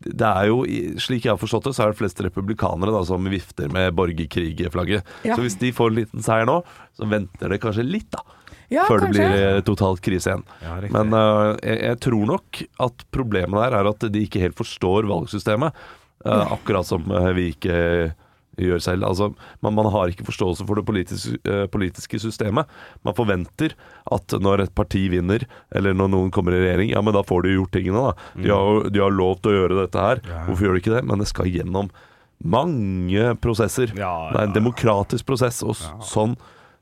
[SPEAKER 2] det er jo, i- slik jeg har forstått det, så er det flest republikanere da, som vifter med borgerkrigflagget.
[SPEAKER 3] Ja.
[SPEAKER 2] Så hvis de får en liten seier nå, så venter det kanskje litt, da.
[SPEAKER 3] Ja,
[SPEAKER 2] før det
[SPEAKER 3] kanskje.
[SPEAKER 2] blir eh, totalt krise igjen.
[SPEAKER 1] riktig.
[SPEAKER 2] Men eh, jeg, jeg tror nok at problemet der er at de ikke helt forstår valgsystemet. eh, akkurat som eh, vi ikke gjør selv. Altså, man, man har ikke forståelse for det politiske, eh, politiske systemet. Man forventer at når et parti vinner, eller når noen kommer i regjering, ja, men da får de gjort tingene, da.
[SPEAKER 1] Mm.
[SPEAKER 2] De har, jo- de har lov til å gjøre dette her. Hvorfor gjør de ikke det? Men det skal gjennom mange prosesser.
[SPEAKER 1] Ja,
[SPEAKER 2] Det er
[SPEAKER 1] ja,
[SPEAKER 2] en demokratisk prosess, og s- sånn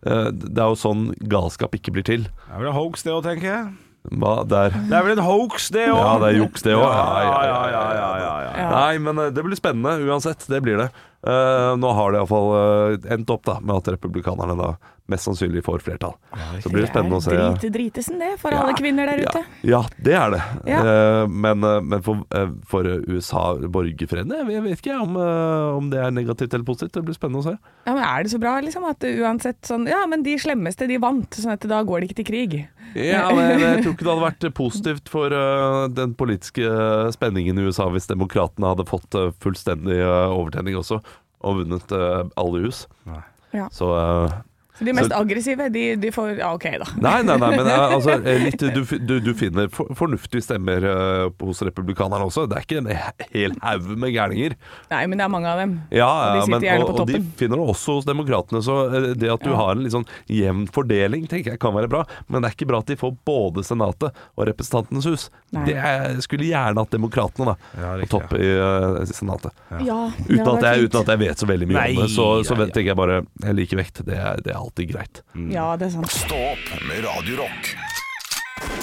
[SPEAKER 2] eh, Det er jo sånn galskap ikke blir til.
[SPEAKER 7] Det er vel en hoax, det òg, tenker jeg.
[SPEAKER 2] Hva der?
[SPEAKER 7] Det er vel en hoax, det òg.
[SPEAKER 2] Ja, det er juks, det òg. Ja, ja, ja, ja, ja, ja.
[SPEAKER 3] Ja.
[SPEAKER 2] Nei, men eh, det blir spennende uansett. Det blir det. Eh, nå har det iallfall uh, endt opp da med at republikanerne da mest sannsynlig får flertall. Så blir det spennende å se.
[SPEAKER 3] er drit, dritesen, det, for alle kvinner der ute.
[SPEAKER 2] Ja, ja det er det.
[SPEAKER 3] Ja.
[SPEAKER 2] Eh, men, eh, men for, eh, for USA, borgerfreden Jeg jeg vet ikke om, eh, om det er negativt eller positivt. Det blir spennende å se.
[SPEAKER 3] Ja, men Er det så bra, liksom? At uansett sånn Ja, men de slemmeste, de vant. Sånn at da går de ikke til krig.
[SPEAKER 2] Ja, men Jeg tror ikke det hadde vært positivt for eh, den politiske eh, spenningen i USA hvis demokratene hadde fått eh, fullstendig eh, overtenning også, og vunnet eh, alle hus.
[SPEAKER 3] Ja.
[SPEAKER 2] Så eh,
[SPEAKER 3] Så de mest
[SPEAKER 2] Så-
[SPEAKER 3] aggressive, de, de får Ja, OK, da.
[SPEAKER 2] Nei, nei, nei, men eh, altså, eh, litt, du, fi- du, du finner for, fornuftige stemmer eh, hos republikanerne også. Det er ikke en he- hel haug med gærninger.
[SPEAKER 3] Nei, men det er mange av dem.
[SPEAKER 2] Ja,
[SPEAKER 3] Og de
[SPEAKER 2] ja,
[SPEAKER 3] sitter gjerne
[SPEAKER 2] og,
[SPEAKER 3] på
[SPEAKER 2] og de
[SPEAKER 3] toppen.
[SPEAKER 2] finner det også hos demokratene. Så eh, det at du har en litt sånn jevn fordeling, tenker jeg kan være bra. Men det er ikke bra at de får både Senatet og Representantenes hus.
[SPEAKER 3] Nei.
[SPEAKER 2] Det er, skulle gjerne hatt demokratene, da.
[SPEAKER 7] Ja,
[SPEAKER 2] På
[SPEAKER 7] riktig,
[SPEAKER 2] topp i eh, Senatet.
[SPEAKER 3] Ja, det
[SPEAKER 2] Uten
[SPEAKER 3] hadde
[SPEAKER 2] at, jeg,
[SPEAKER 3] vært
[SPEAKER 2] uten at jeg vet så veldig mye
[SPEAKER 7] Nei,
[SPEAKER 2] om det, så, så
[SPEAKER 7] ja, Mm. ja.
[SPEAKER 2] tenker jeg bare jeg liker vekt. Det er, det er alltid greit.
[SPEAKER 3] fint. Ja, det er sant.
[SPEAKER 4] Stå opp med Radio Rock.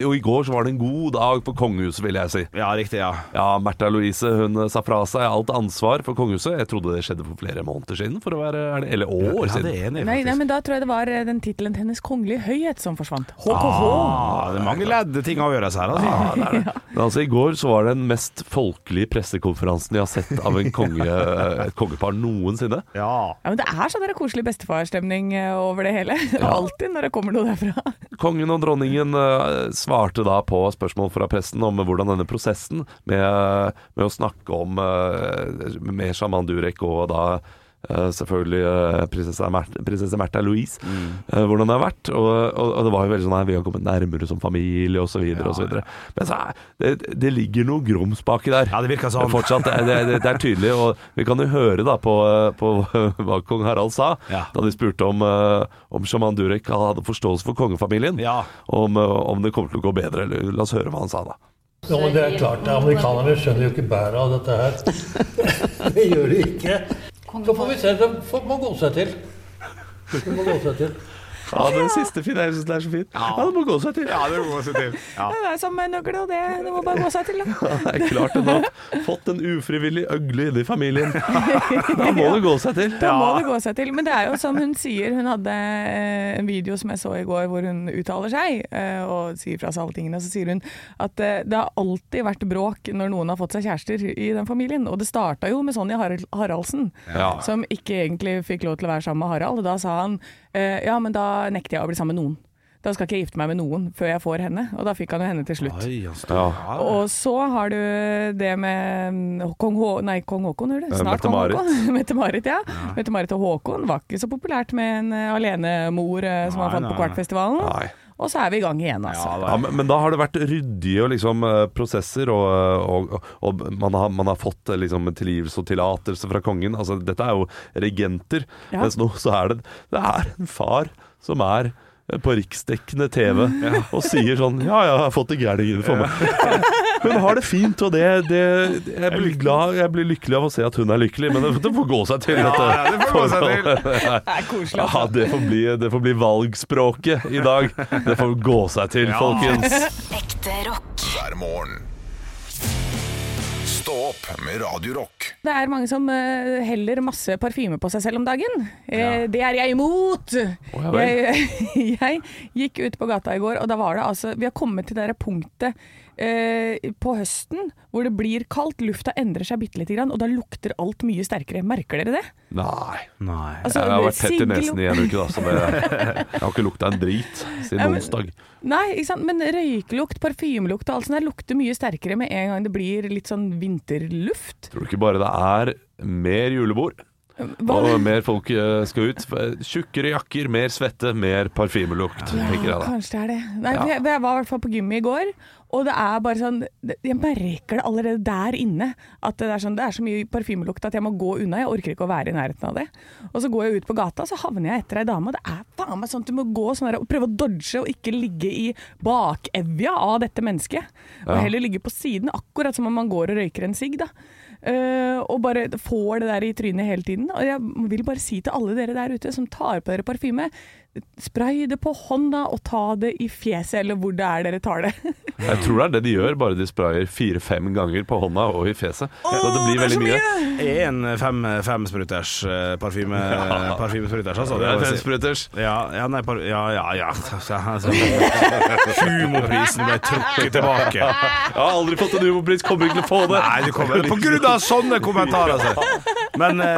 [SPEAKER 2] Og i går så var det en god dag for kongehuset, vil jeg si.
[SPEAKER 7] Ja, riktig, ja.
[SPEAKER 2] Ja, Märtha Louise hun eh, sa fra seg alt ansvar for kongehuset. Jeg trodde det skjedde for flere måneder siden, for å være ærlig. Eller år
[SPEAKER 7] ja det
[SPEAKER 2] siden.
[SPEAKER 7] er enig,
[SPEAKER 3] Nei, nei,
[SPEAKER 7] faktisk.
[SPEAKER 3] men da tror jeg det var eh, den tittelen til Hennes kongelige høyhet som forsvant. HKH.
[SPEAKER 7] Ah, det er mange ledde ting å gjøre her, altså.
[SPEAKER 1] Ah.
[SPEAKER 2] Ja, det er det. Men altså, I går så var det den mest folkelige pressekonferansen jeg har sett av en konge, eh, et kongepar noensinne.
[SPEAKER 7] Ja.
[SPEAKER 3] Ja, men Det er sånn der koselig bestefarstemning eh, over det hele. Alltid når det kommer noe derfra.
[SPEAKER 2] Kongen og dronningen eh, svarte da på spørsmål fra pressen om hvordan denne prosessen med, med å snakke om eh, med sjaman Durek og da eh, selvfølgelig eh, prinsesse Märtha- prinsesse Märtha Louise, eh, hvordan det har vært. Og, og, og det var jo veldig sånn her, vi har kommet nærmere som familie osv. videre og så videre. Men så, er- det, det ligger noe grums baki der.
[SPEAKER 7] Ja, det virker sånn.
[SPEAKER 2] Fortsatt, det, det, det- det er tydelig, og vi kan jo høre da på, på hva kong Harald sa
[SPEAKER 7] Ja.
[SPEAKER 2] da de spurte om, eh, om sjaman Durek hadde forståelse for kongefamilien,
[SPEAKER 7] Ja.
[SPEAKER 2] om, eh, om det kommer til å gå bedre. eller- La oss høre hva han sa da.
[SPEAKER 6] Ja, men det er klart, Amerikanerne skjønner jo ikke bæret av dette her. Det gjør de ikke. Så får vi se. De får- må gå seg til. De må gå seg til.
[SPEAKER 2] Ja, den siste fine, jeg synes det er så fint. Ja, det må gå seg til.
[SPEAKER 7] Ja, det må også til. Ja.
[SPEAKER 3] Det er som en nøkkel, og det, det må bare gå seg til. da.
[SPEAKER 2] Det er klart hun har fått en ufrivillig øgle inne i familien. Da må det gå seg til.
[SPEAKER 3] Da må det gå seg til. Men det er jo som hun sier, hun hadde eh, en video som jeg så i går hvor hun uttaler seg eh, og sier fra seg alle tingene. Så sier hun at eh, det har alltid vært bråk når noen har fått seg kjærester i den familien. Og det starta jo med Sonja Harald- Haraldsen,
[SPEAKER 2] Ja.
[SPEAKER 3] som ikke egentlig fikk lov til å være sammen med Harald. Og da sa han eh, ja, men da nekter jeg å bli sammen med noen. Da skal ikke jeg gifte meg med noen før jeg får henne. Og da fikk han jo henne til slutt.
[SPEAKER 7] Oi, han står-
[SPEAKER 2] Ja.
[SPEAKER 1] Ah.
[SPEAKER 3] Og så har du det med mm, kong, Hå nei, kong Håkon, hører du?
[SPEAKER 2] Eh,
[SPEAKER 3] Snart kong
[SPEAKER 2] Mette-Marit.
[SPEAKER 3] Håkon. Mette-Marit, ja. Mette-Marit og Håkon var ikke så populært med en eh, alenemor eh, som
[SPEAKER 7] Nei,
[SPEAKER 3] han fant på
[SPEAKER 7] nei, nei.
[SPEAKER 3] Kvartfestivalen.
[SPEAKER 2] Nei.
[SPEAKER 3] Og så er vi i gang igjen, altså.
[SPEAKER 2] Ja, men, men da har det vært ryddige og liksom, eh, prosesser, og, og, og man, har, man har fått eh, liksom, tilgivelse og tillatelse fra kongen. Altså, dette er jo regenter.
[SPEAKER 3] Ja.
[SPEAKER 2] Mens nå så er det, det er en far som er eh, på riksdekkende TV og sier sånn Ja, ja, jeg har fått det gærent innenfor meg. Hun har det fint, og det, det jeg, blir glad, jeg blir lykkelig av å se at hun er lykkelig, men det, det får gå seg til.
[SPEAKER 7] Ja, ja, det får gå seg til.
[SPEAKER 3] Det er koselig,
[SPEAKER 2] Ja,
[SPEAKER 3] altså.
[SPEAKER 2] det får, bli, det får bli valgspråket i dag. Det får gå seg til, folkens.
[SPEAKER 8] Ekte rock.
[SPEAKER 4] hver morgen. Stå opp med Radio Rock.
[SPEAKER 3] Det er mange som eh, heller masse parfyme på seg selv om dagen. Eh, Det er jeg imot!
[SPEAKER 2] ja vel.
[SPEAKER 3] jeg, jeg gikk ut på gata i går, og da var det altså Vi har kommet til det der punktet eh, på høsten hvor det blir kaldt, lufta endrer seg bitte lite grann, og da lukter alt mye sterkere. Merker dere det?
[SPEAKER 2] Nei.
[SPEAKER 7] Nei.
[SPEAKER 3] Altså,
[SPEAKER 2] jeg har vært tett i
[SPEAKER 3] siglum-
[SPEAKER 2] nesen i en uke, da, så det, jeg har ikke lukta en drit siden
[SPEAKER 3] Ja, men-
[SPEAKER 2] onsdag.
[SPEAKER 3] Nei, ikke sant? men røyklukt, parfymelukt og alt sånt der lukter mye sterkere med en gang det blir litt sånn vinterluft.
[SPEAKER 2] Tror du ikke bare det er mer julebord?
[SPEAKER 3] Hva?
[SPEAKER 2] Og mer folk eh, skal ut. Tjukkere jakker, mer svette, mer parfymelukt, tenker jeg da.
[SPEAKER 3] Kanskje det er det. Nei,
[SPEAKER 2] Ja.
[SPEAKER 3] for jeg, for jeg var i hvert fall på gymmet i går, og det er bare sånn det- Jeg merker det allerede der inne. At det er, sånn, det er så mye parfymelukt at jeg må gå unna. Jeg orker ikke å være i nærheten av det. Og så går jeg ut på gata, så havner jeg etter ei dame. og Det er faen meg sånn at du må gå sånn her og prøve å dodge og ikke ligge i bakevja av dette mennesket. Og heller ligge på siden, akkurat som om man går og røyker en sigg, da. eh, og bare får det der i trynet hele tiden. Og jeg vil bare si til alle dere der ute som tar på dere parfyme, spray det på hånda og ta det i fjeset, eller hvor det er dere tar det.
[SPEAKER 2] Jeg tror det er det de gjør, bare de sprayer fire-fem ganger på hånda og i fjeset. så det
[SPEAKER 3] Åh,
[SPEAKER 2] blir
[SPEAKER 3] er
[SPEAKER 2] veldig
[SPEAKER 3] så
[SPEAKER 2] mye.
[SPEAKER 1] En fem, femspruters eh, parfyme, parfymespruters, altså.
[SPEAKER 2] Det er
[SPEAKER 1] må jeg si.
[SPEAKER 2] femspruters.
[SPEAKER 1] ja, ja, nei, par, ja, ja, ja. Humorprisen ble trukket tilbake.
[SPEAKER 2] Jeg har aldri fått en humorpris, kommer ikke til å få det.
[SPEAKER 1] Nei, du kommer På grunn av sånne kommentarer, altså. Men, eh,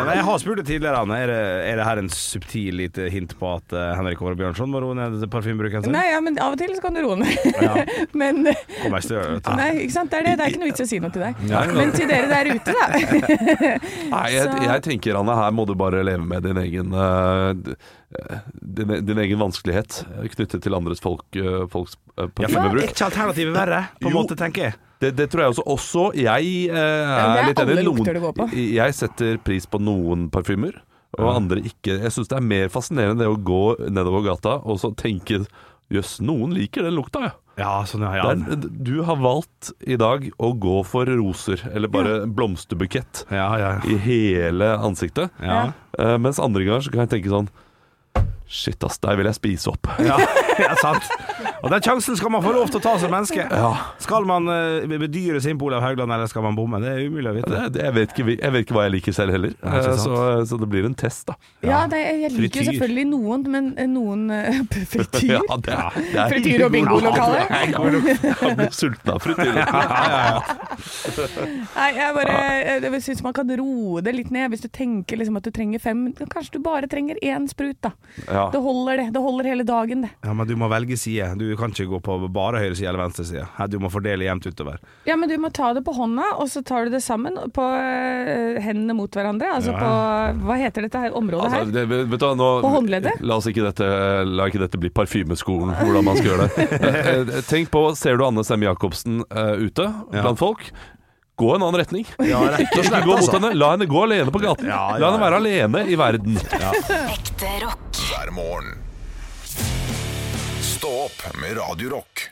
[SPEAKER 1] men jeg har spurt det tidligere, Anne. Er det, er det her en subtil lite hint på at eh, Henrik Åre Bjørnson må roe ned
[SPEAKER 2] Mm.
[SPEAKER 1] parfymebruken sin?
[SPEAKER 3] Nei, ja, men av og til så kan du roe ned. men
[SPEAKER 1] Kommer jeg ikke til å gjøre det.
[SPEAKER 3] Nei, ikke sant? Det er, det. det er ikke noe vits i å si noe til deg.
[SPEAKER 2] Nei.
[SPEAKER 3] Men til dere der ute, da.
[SPEAKER 2] Nei, jeg, jeg tenker Anne, her må du bare leve med din egen eh, d- eh, din, din egen vanskelighet eh, knyttet til andres folk, eh, folks eh,
[SPEAKER 1] Ja, for er
[SPEAKER 2] parfymebruk.
[SPEAKER 1] ikke alternativet verre, på en
[SPEAKER 2] Jo.
[SPEAKER 1] måte, tenker jeg.
[SPEAKER 2] Det, det tror jeg også. Også jeg eh,
[SPEAKER 3] det
[SPEAKER 2] er
[SPEAKER 3] er
[SPEAKER 2] litt enig.
[SPEAKER 3] alle
[SPEAKER 2] Noen-
[SPEAKER 3] lukter det går på.
[SPEAKER 2] Jeg setter pris på noen parfymer, og andre ikke. Jeg syns det er mer fascinerende det å gå nedover gata og så tenke Jøss, noen liker den lukta, ja.
[SPEAKER 1] Ja, sånn ja,
[SPEAKER 2] Det er- du har valgt i dag å gå for roser, eller bare en blomsterbukett
[SPEAKER 1] ja, ja.
[SPEAKER 2] i hele ansiktet.
[SPEAKER 1] ja.
[SPEAKER 2] Eh, mens andre ganger så kan jeg tenke sånn Shit, ass, deg vil jeg spise opp.
[SPEAKER 1] Ja, ja, sant. Og den sjansen skal man få lov til å ta som menneske. Skal man eh, bedyre sin Olav Haugland, eller skal man bomme? Det er umulig å vite.
[SPEAKER 2] Det, det, jeg, vet ikke, jeg vet ikke hva jeg liker selv heller,
[SPEAKER 1] Nei, ikke
[SPEAKER 2] Eh,
[SPEAKER 1] sant.
[SPEAKER 2] så, så det blir en test, da.
[SPEAKER 3] Ja, det, jeg liker jo
[SPEAKER 1] Frityr.
[SPEAKER 3] selvfølgelig noen, men noen eh, frityr.
[SPEAKER 2] Ja, det er, det er
[SPEAKER 3] Frityr og bingolokale.
[SPEAKER 2] Jeg blir sulten av frityr.
[SPEAKER 3] Nei, jeg bare eh, jeg syns man kan roe det litt ned. Hvis du tenker liksom at du trenger fem, kanskje du bare trenger én sprut, da.
[SPEAKER 2] Ja.
[SPEAKER 3] Det holder det. Det holder hele dagen, det.
[SPEAKER 1] Ja, Men du må velge side. Du kan ikke gå på bare høyre side eller venstre side. Her, Du må fordele jevnt utover.
[SPEAKER 3] Ja, men du må ta det på hånda, og så tar du det sammen på eh, hendene mot hverandre. Altså
[SPEAKER 1] Ja.
[SPEAKER 3] på Hva heter dette her området
[SPEAKER 2] Altså,
[SPEAKER 3] her?
[SPEAKER 2] det, vet du, hva, nå,
[SPEAKER 3] På håndleddet?
[SPEAKER 2] La oss ikke dette, la ikke dette bli parfymeskolen, hvordan man skal gjøre det. Eh, eh, Tenk på, ser du Anne Semme Jacobsen eh, ute blant folk? Gå en annen retning.
[SPEAKER 1] rett altså.
[SPEAKER 2] Ikke gå mot henne. La henne gå alene på gaten.
[SPEAKER 1] Ja, ja,
[SPEAKER 2] La henne være alene i verden.
[SPEAKER 8] Ekte rock.
[SPEAKER 4] hver morgen. Stå opp med Radio Rock.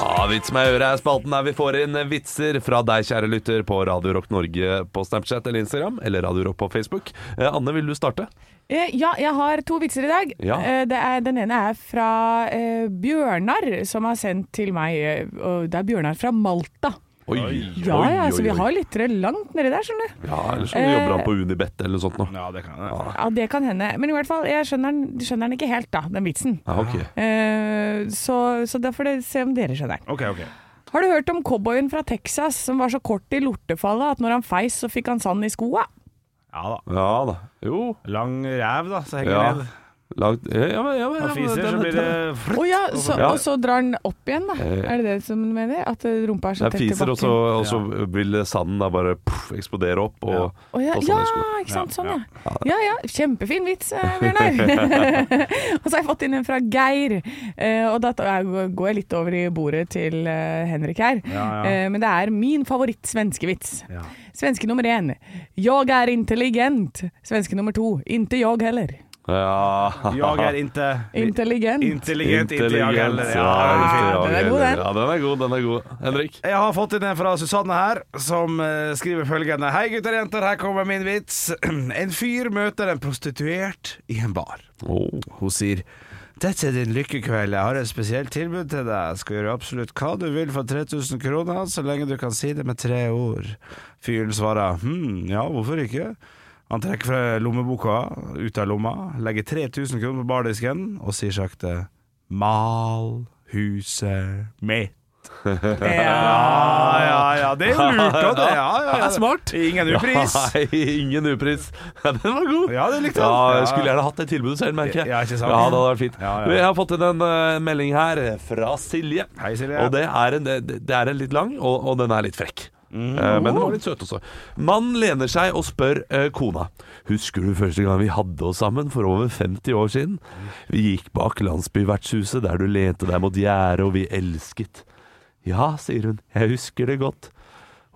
[SPEAKER 2] Ja, Vits med øret er spalten der vi får inn vitser fra deg, kjære lytter, på Radio Rock Norge på Snapchat eller Instagram, eller Radio Rock på Facebook. Eh, Anne, vil du starte?
[SPEAKER 3] Eh, Ja, jeg har to vitser i dag.
[SPEAKER 2] Ja.
[SPEAKER 3] Eh, Det er, den ene er fra eh, Bjørnar, som har sendt til meg. eh, og Det er Bjørnar fra Malta.
[SPEAKER 2] Oi,
[SPEAKER 3] Ja, ja, så vi har Eh. lyttere langt nedi der, skjønner du.
[SPEAKER 2] Ja, ellers så jobber han på Unibet eller noe sånt nå.
[SPEAKER 1] Ja, det kan jeg.
[SPEAKER 3] Ja, det kan hende. Men i hvert fall, jeg skjønner den, skjønner den ikke helt, da, den vitsen.
[SPEAKER 2] Ja, ok.
[SPEAKER 3] Eh, så, så da får dere se om dere skjønner den.
[SPEAKER 1] Ok, ok.
[SPEAKER 3] Har du hørt om cowboyen fra Texas som var så kort i lortefallet at når han feis, så fikk han sand i skoa?
[SPEAKER 1] Ja da.
[SPEAKER 2] Ja da. Jo.
[SPEAKER 1] Lang ræv, da, så henger
[SPEAKER 2] Ja.
[SPEAKER 1] ned.
[SPEAKER 2] Lagd ja, ja, men- ja, men-
[SPEAKER 1] Han
[SPEAKER 2] ja, men-
[SPEAKER 1] fiser,
[SPEAKER 2] den-
[SPEAKER 1] så blir det
[SPEAKER 3] Å
[SPEAKER 1] frutt.
[SPEAKER 3] ja, så,
[SPEAKER 2] Ja.
[SPEAKER 3] og så drar han opp igjen, da.
[SPEAKER 2] Eh.
[SPEAKER 3] Er det det som du mener? At eh, rumpa er så
[SPEAKER 2] Den
[SPEAKER 3] tett i
[SPEAKER 2] fiser, og så,
[SPEAKER 3] bakken?
[SPEAKER 2] og så vil sanden da bare puff, eksplodere opp. Og,
[SPEAKER 3] Å ja,
[SPEAKER 2] og
[SPEAKER 3] ja,
[SPEAKER 2] sånn i skoen.
[SPEAKER 3] ikke sant. Sånn, ja. Ja ja, kjempefin vits, eh, Bjørnar. og så har jeg fått inn en fra Geir. Eh, og da tar- jeg går jeg litt over i bordet til eh, Henrik her.
[SPEAKER 1] Ja, ja.
[SPEAKER 3] Eh, men det er min favoritt-svenskevits.
[SPEAKER 1] Ja.
[SPEAKER 3] Svenske nummer én. Jeg er intelligent. Svenske nummer to. Inte jag heller.
[SPEAKER 2] Ja.
[SPEAKER 1] Jeg er inte
[SPEAKER 3] Intelligent.
[SPEAKER 1] intelligent, inte jag heller.
[SPEAKER 2] Intelligens,
[SPEAKER 1] Ja, det
[SPEAKER 2] ja,
[SPEAKER 1] er fint.
[SPEAKER 2] ikke
[SPEAKER 3] den er
[SPEAKER 2] jeg
[SPEAKER 3] god,
[SPEAKER 2] heller.
[SPEAKER 3] den.
[SPEAKER 2] Ja, den er god, den er god. Henrik?
[SPEAKER 1] Jeg har fått inn en fra Susanne her, som eh, skriver følgende. Hei gutter og jenter, her kommer min vits. En fyr møter en prostituert i en bar. Hun sier dette er din lykkekveld, jeg har et spesielt tilbud til deg. Skal gjøre absolutt hva du vil for 3000 kroner, så lenge du kan si det med tre ord. Fyren svarer hm, ja, hvorfor ikke? Han trekker fra lommeboka, ut av lomma, legger 3000 kroner på bardisken og sier sakte mal huset mitt. Ja, ja, ja. Det er jo lurt, da. Det, ja, ja, ja.
[SPEAKER 2] Det er smart.
[SPEAKER 1] Ingen upris.
[SPEAKER 2] Nei, ingen upris. Ja, den var god.
[SPEAKER 1] Ja, det likte jeg.
[SPEAKER 2] Ja, jeg
[SPEAKER 1] Ja.
[SPEAKER 2] skulle gjerne hatt det tilbudet selv, merker jeg.
[SPEAKER 1] Ja, ikke sant?
[SPEAKER 2] Ja, det hadde vært fint.
[SPEAKER 1] Ja, ja.
[SPEAKER 2] Du, Jeg har fått inn en eh, melding her fra Silje.
[SPEAKER 1] Hei, Silje.
[SPEAKER 2] Og det er en, det, det er en litt lang, og, og den er litt frekk.
[SPEAKER 1] Mhm.
[SPEAKER 2] Eh, Men den var litt søt også. Mannen lener seg og spør eh, kona. Husker du første gang vi hadde oss sammen for over 50 år siden? Vi gikk bak landsbyvertshuset der du lente deg mot gjerdet, og vi elsket. Ja, sier hun, jeg husker det godt.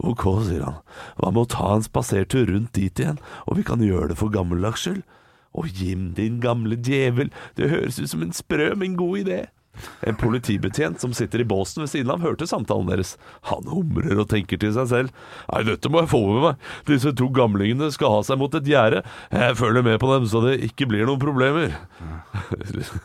[SPEAKER 2] Ok, sier han. Hva med å ta en spasertur rundt dit igjen, og vi kan gjøre det for gammeldags skyld? Å, Jim, din gamle djevel, det høres ut som en sprø, men god idé. En politibetjent som sitter i båsen ved siden av, hørte samtalen deres. Han humrer og tenker til seg selv. Nei, dette må jeg få med meg. Disse to gamlingene skal ha seg mot et gjerde. Jeg følger med på dem, så det ikke blir noen problemer.